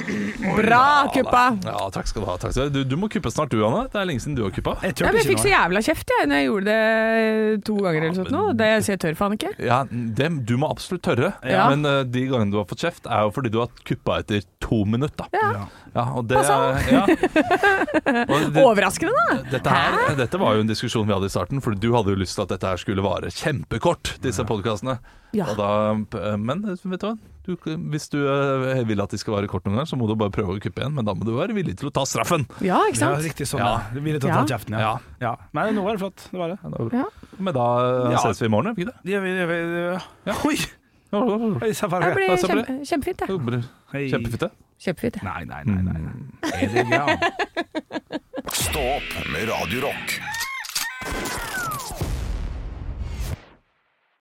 E: Bra kuppa!
C: Ja, takk skal du ha. Takk skal du, ha. du, du må kuppe snart du, Anne. Det er lenge siden du har kuppa.
D: Jeg
E: Ja,
D: tør
E: men jeg
D: ikke
E: fikk så
D: nå.
E: jævla kjeft jeg når jeg gjorde det to ganger eller sånt nå. Det så jeg tør faen ikke.
C: Ja, dem, du må absolutt tørre,
E: Ja.
C: men eh, de gangene du har fått kjeft, er jo fordi du har kuppa etter to minutter.
E: Ja.
C: Ja, og det,
E: Pass
C: ja. Og det,
E: Overraskende, da!
C: dette, her, dette var jo en diskusjon vi hadde i starten, for du hadde jo lyst til at dette her skulle vare kjempekort, disse podkastene.
E: Ja.
C: eh, Men vet du hva, du, hvis du eh, vil at de skal vare kort noen gang, så må du bare prøve å kuppe igjen, men da må du være villig til å ta straffen.
E: Ja, ikke
D: Ja,
E: sant?
D: riktig sånn.
C: Ja.
D: Ja. Du ville ta ta
E: Ja.
D: kjeften, ja.
C: Ja.
D: ja. Men nå var det flott. Det var det.
E: Ja.
C: Men da eh,
D: Ja.
C: ses vi i morgen, gjør vi ikke det?
D: Ja, vi- ja, vi- ja. Oi!
C: Ja.
D: Oi, se for
E: Det
D: deg.
E: ble
C: Ja, så bra.
E: kjempe, kjempefint, det.
D: Hei.
C: Kjempefint, det.
E: Kjempefint, det.
D: Nei, nei, nei. nei. nei. Er det bra?
B: Stå opp med Radio Rock.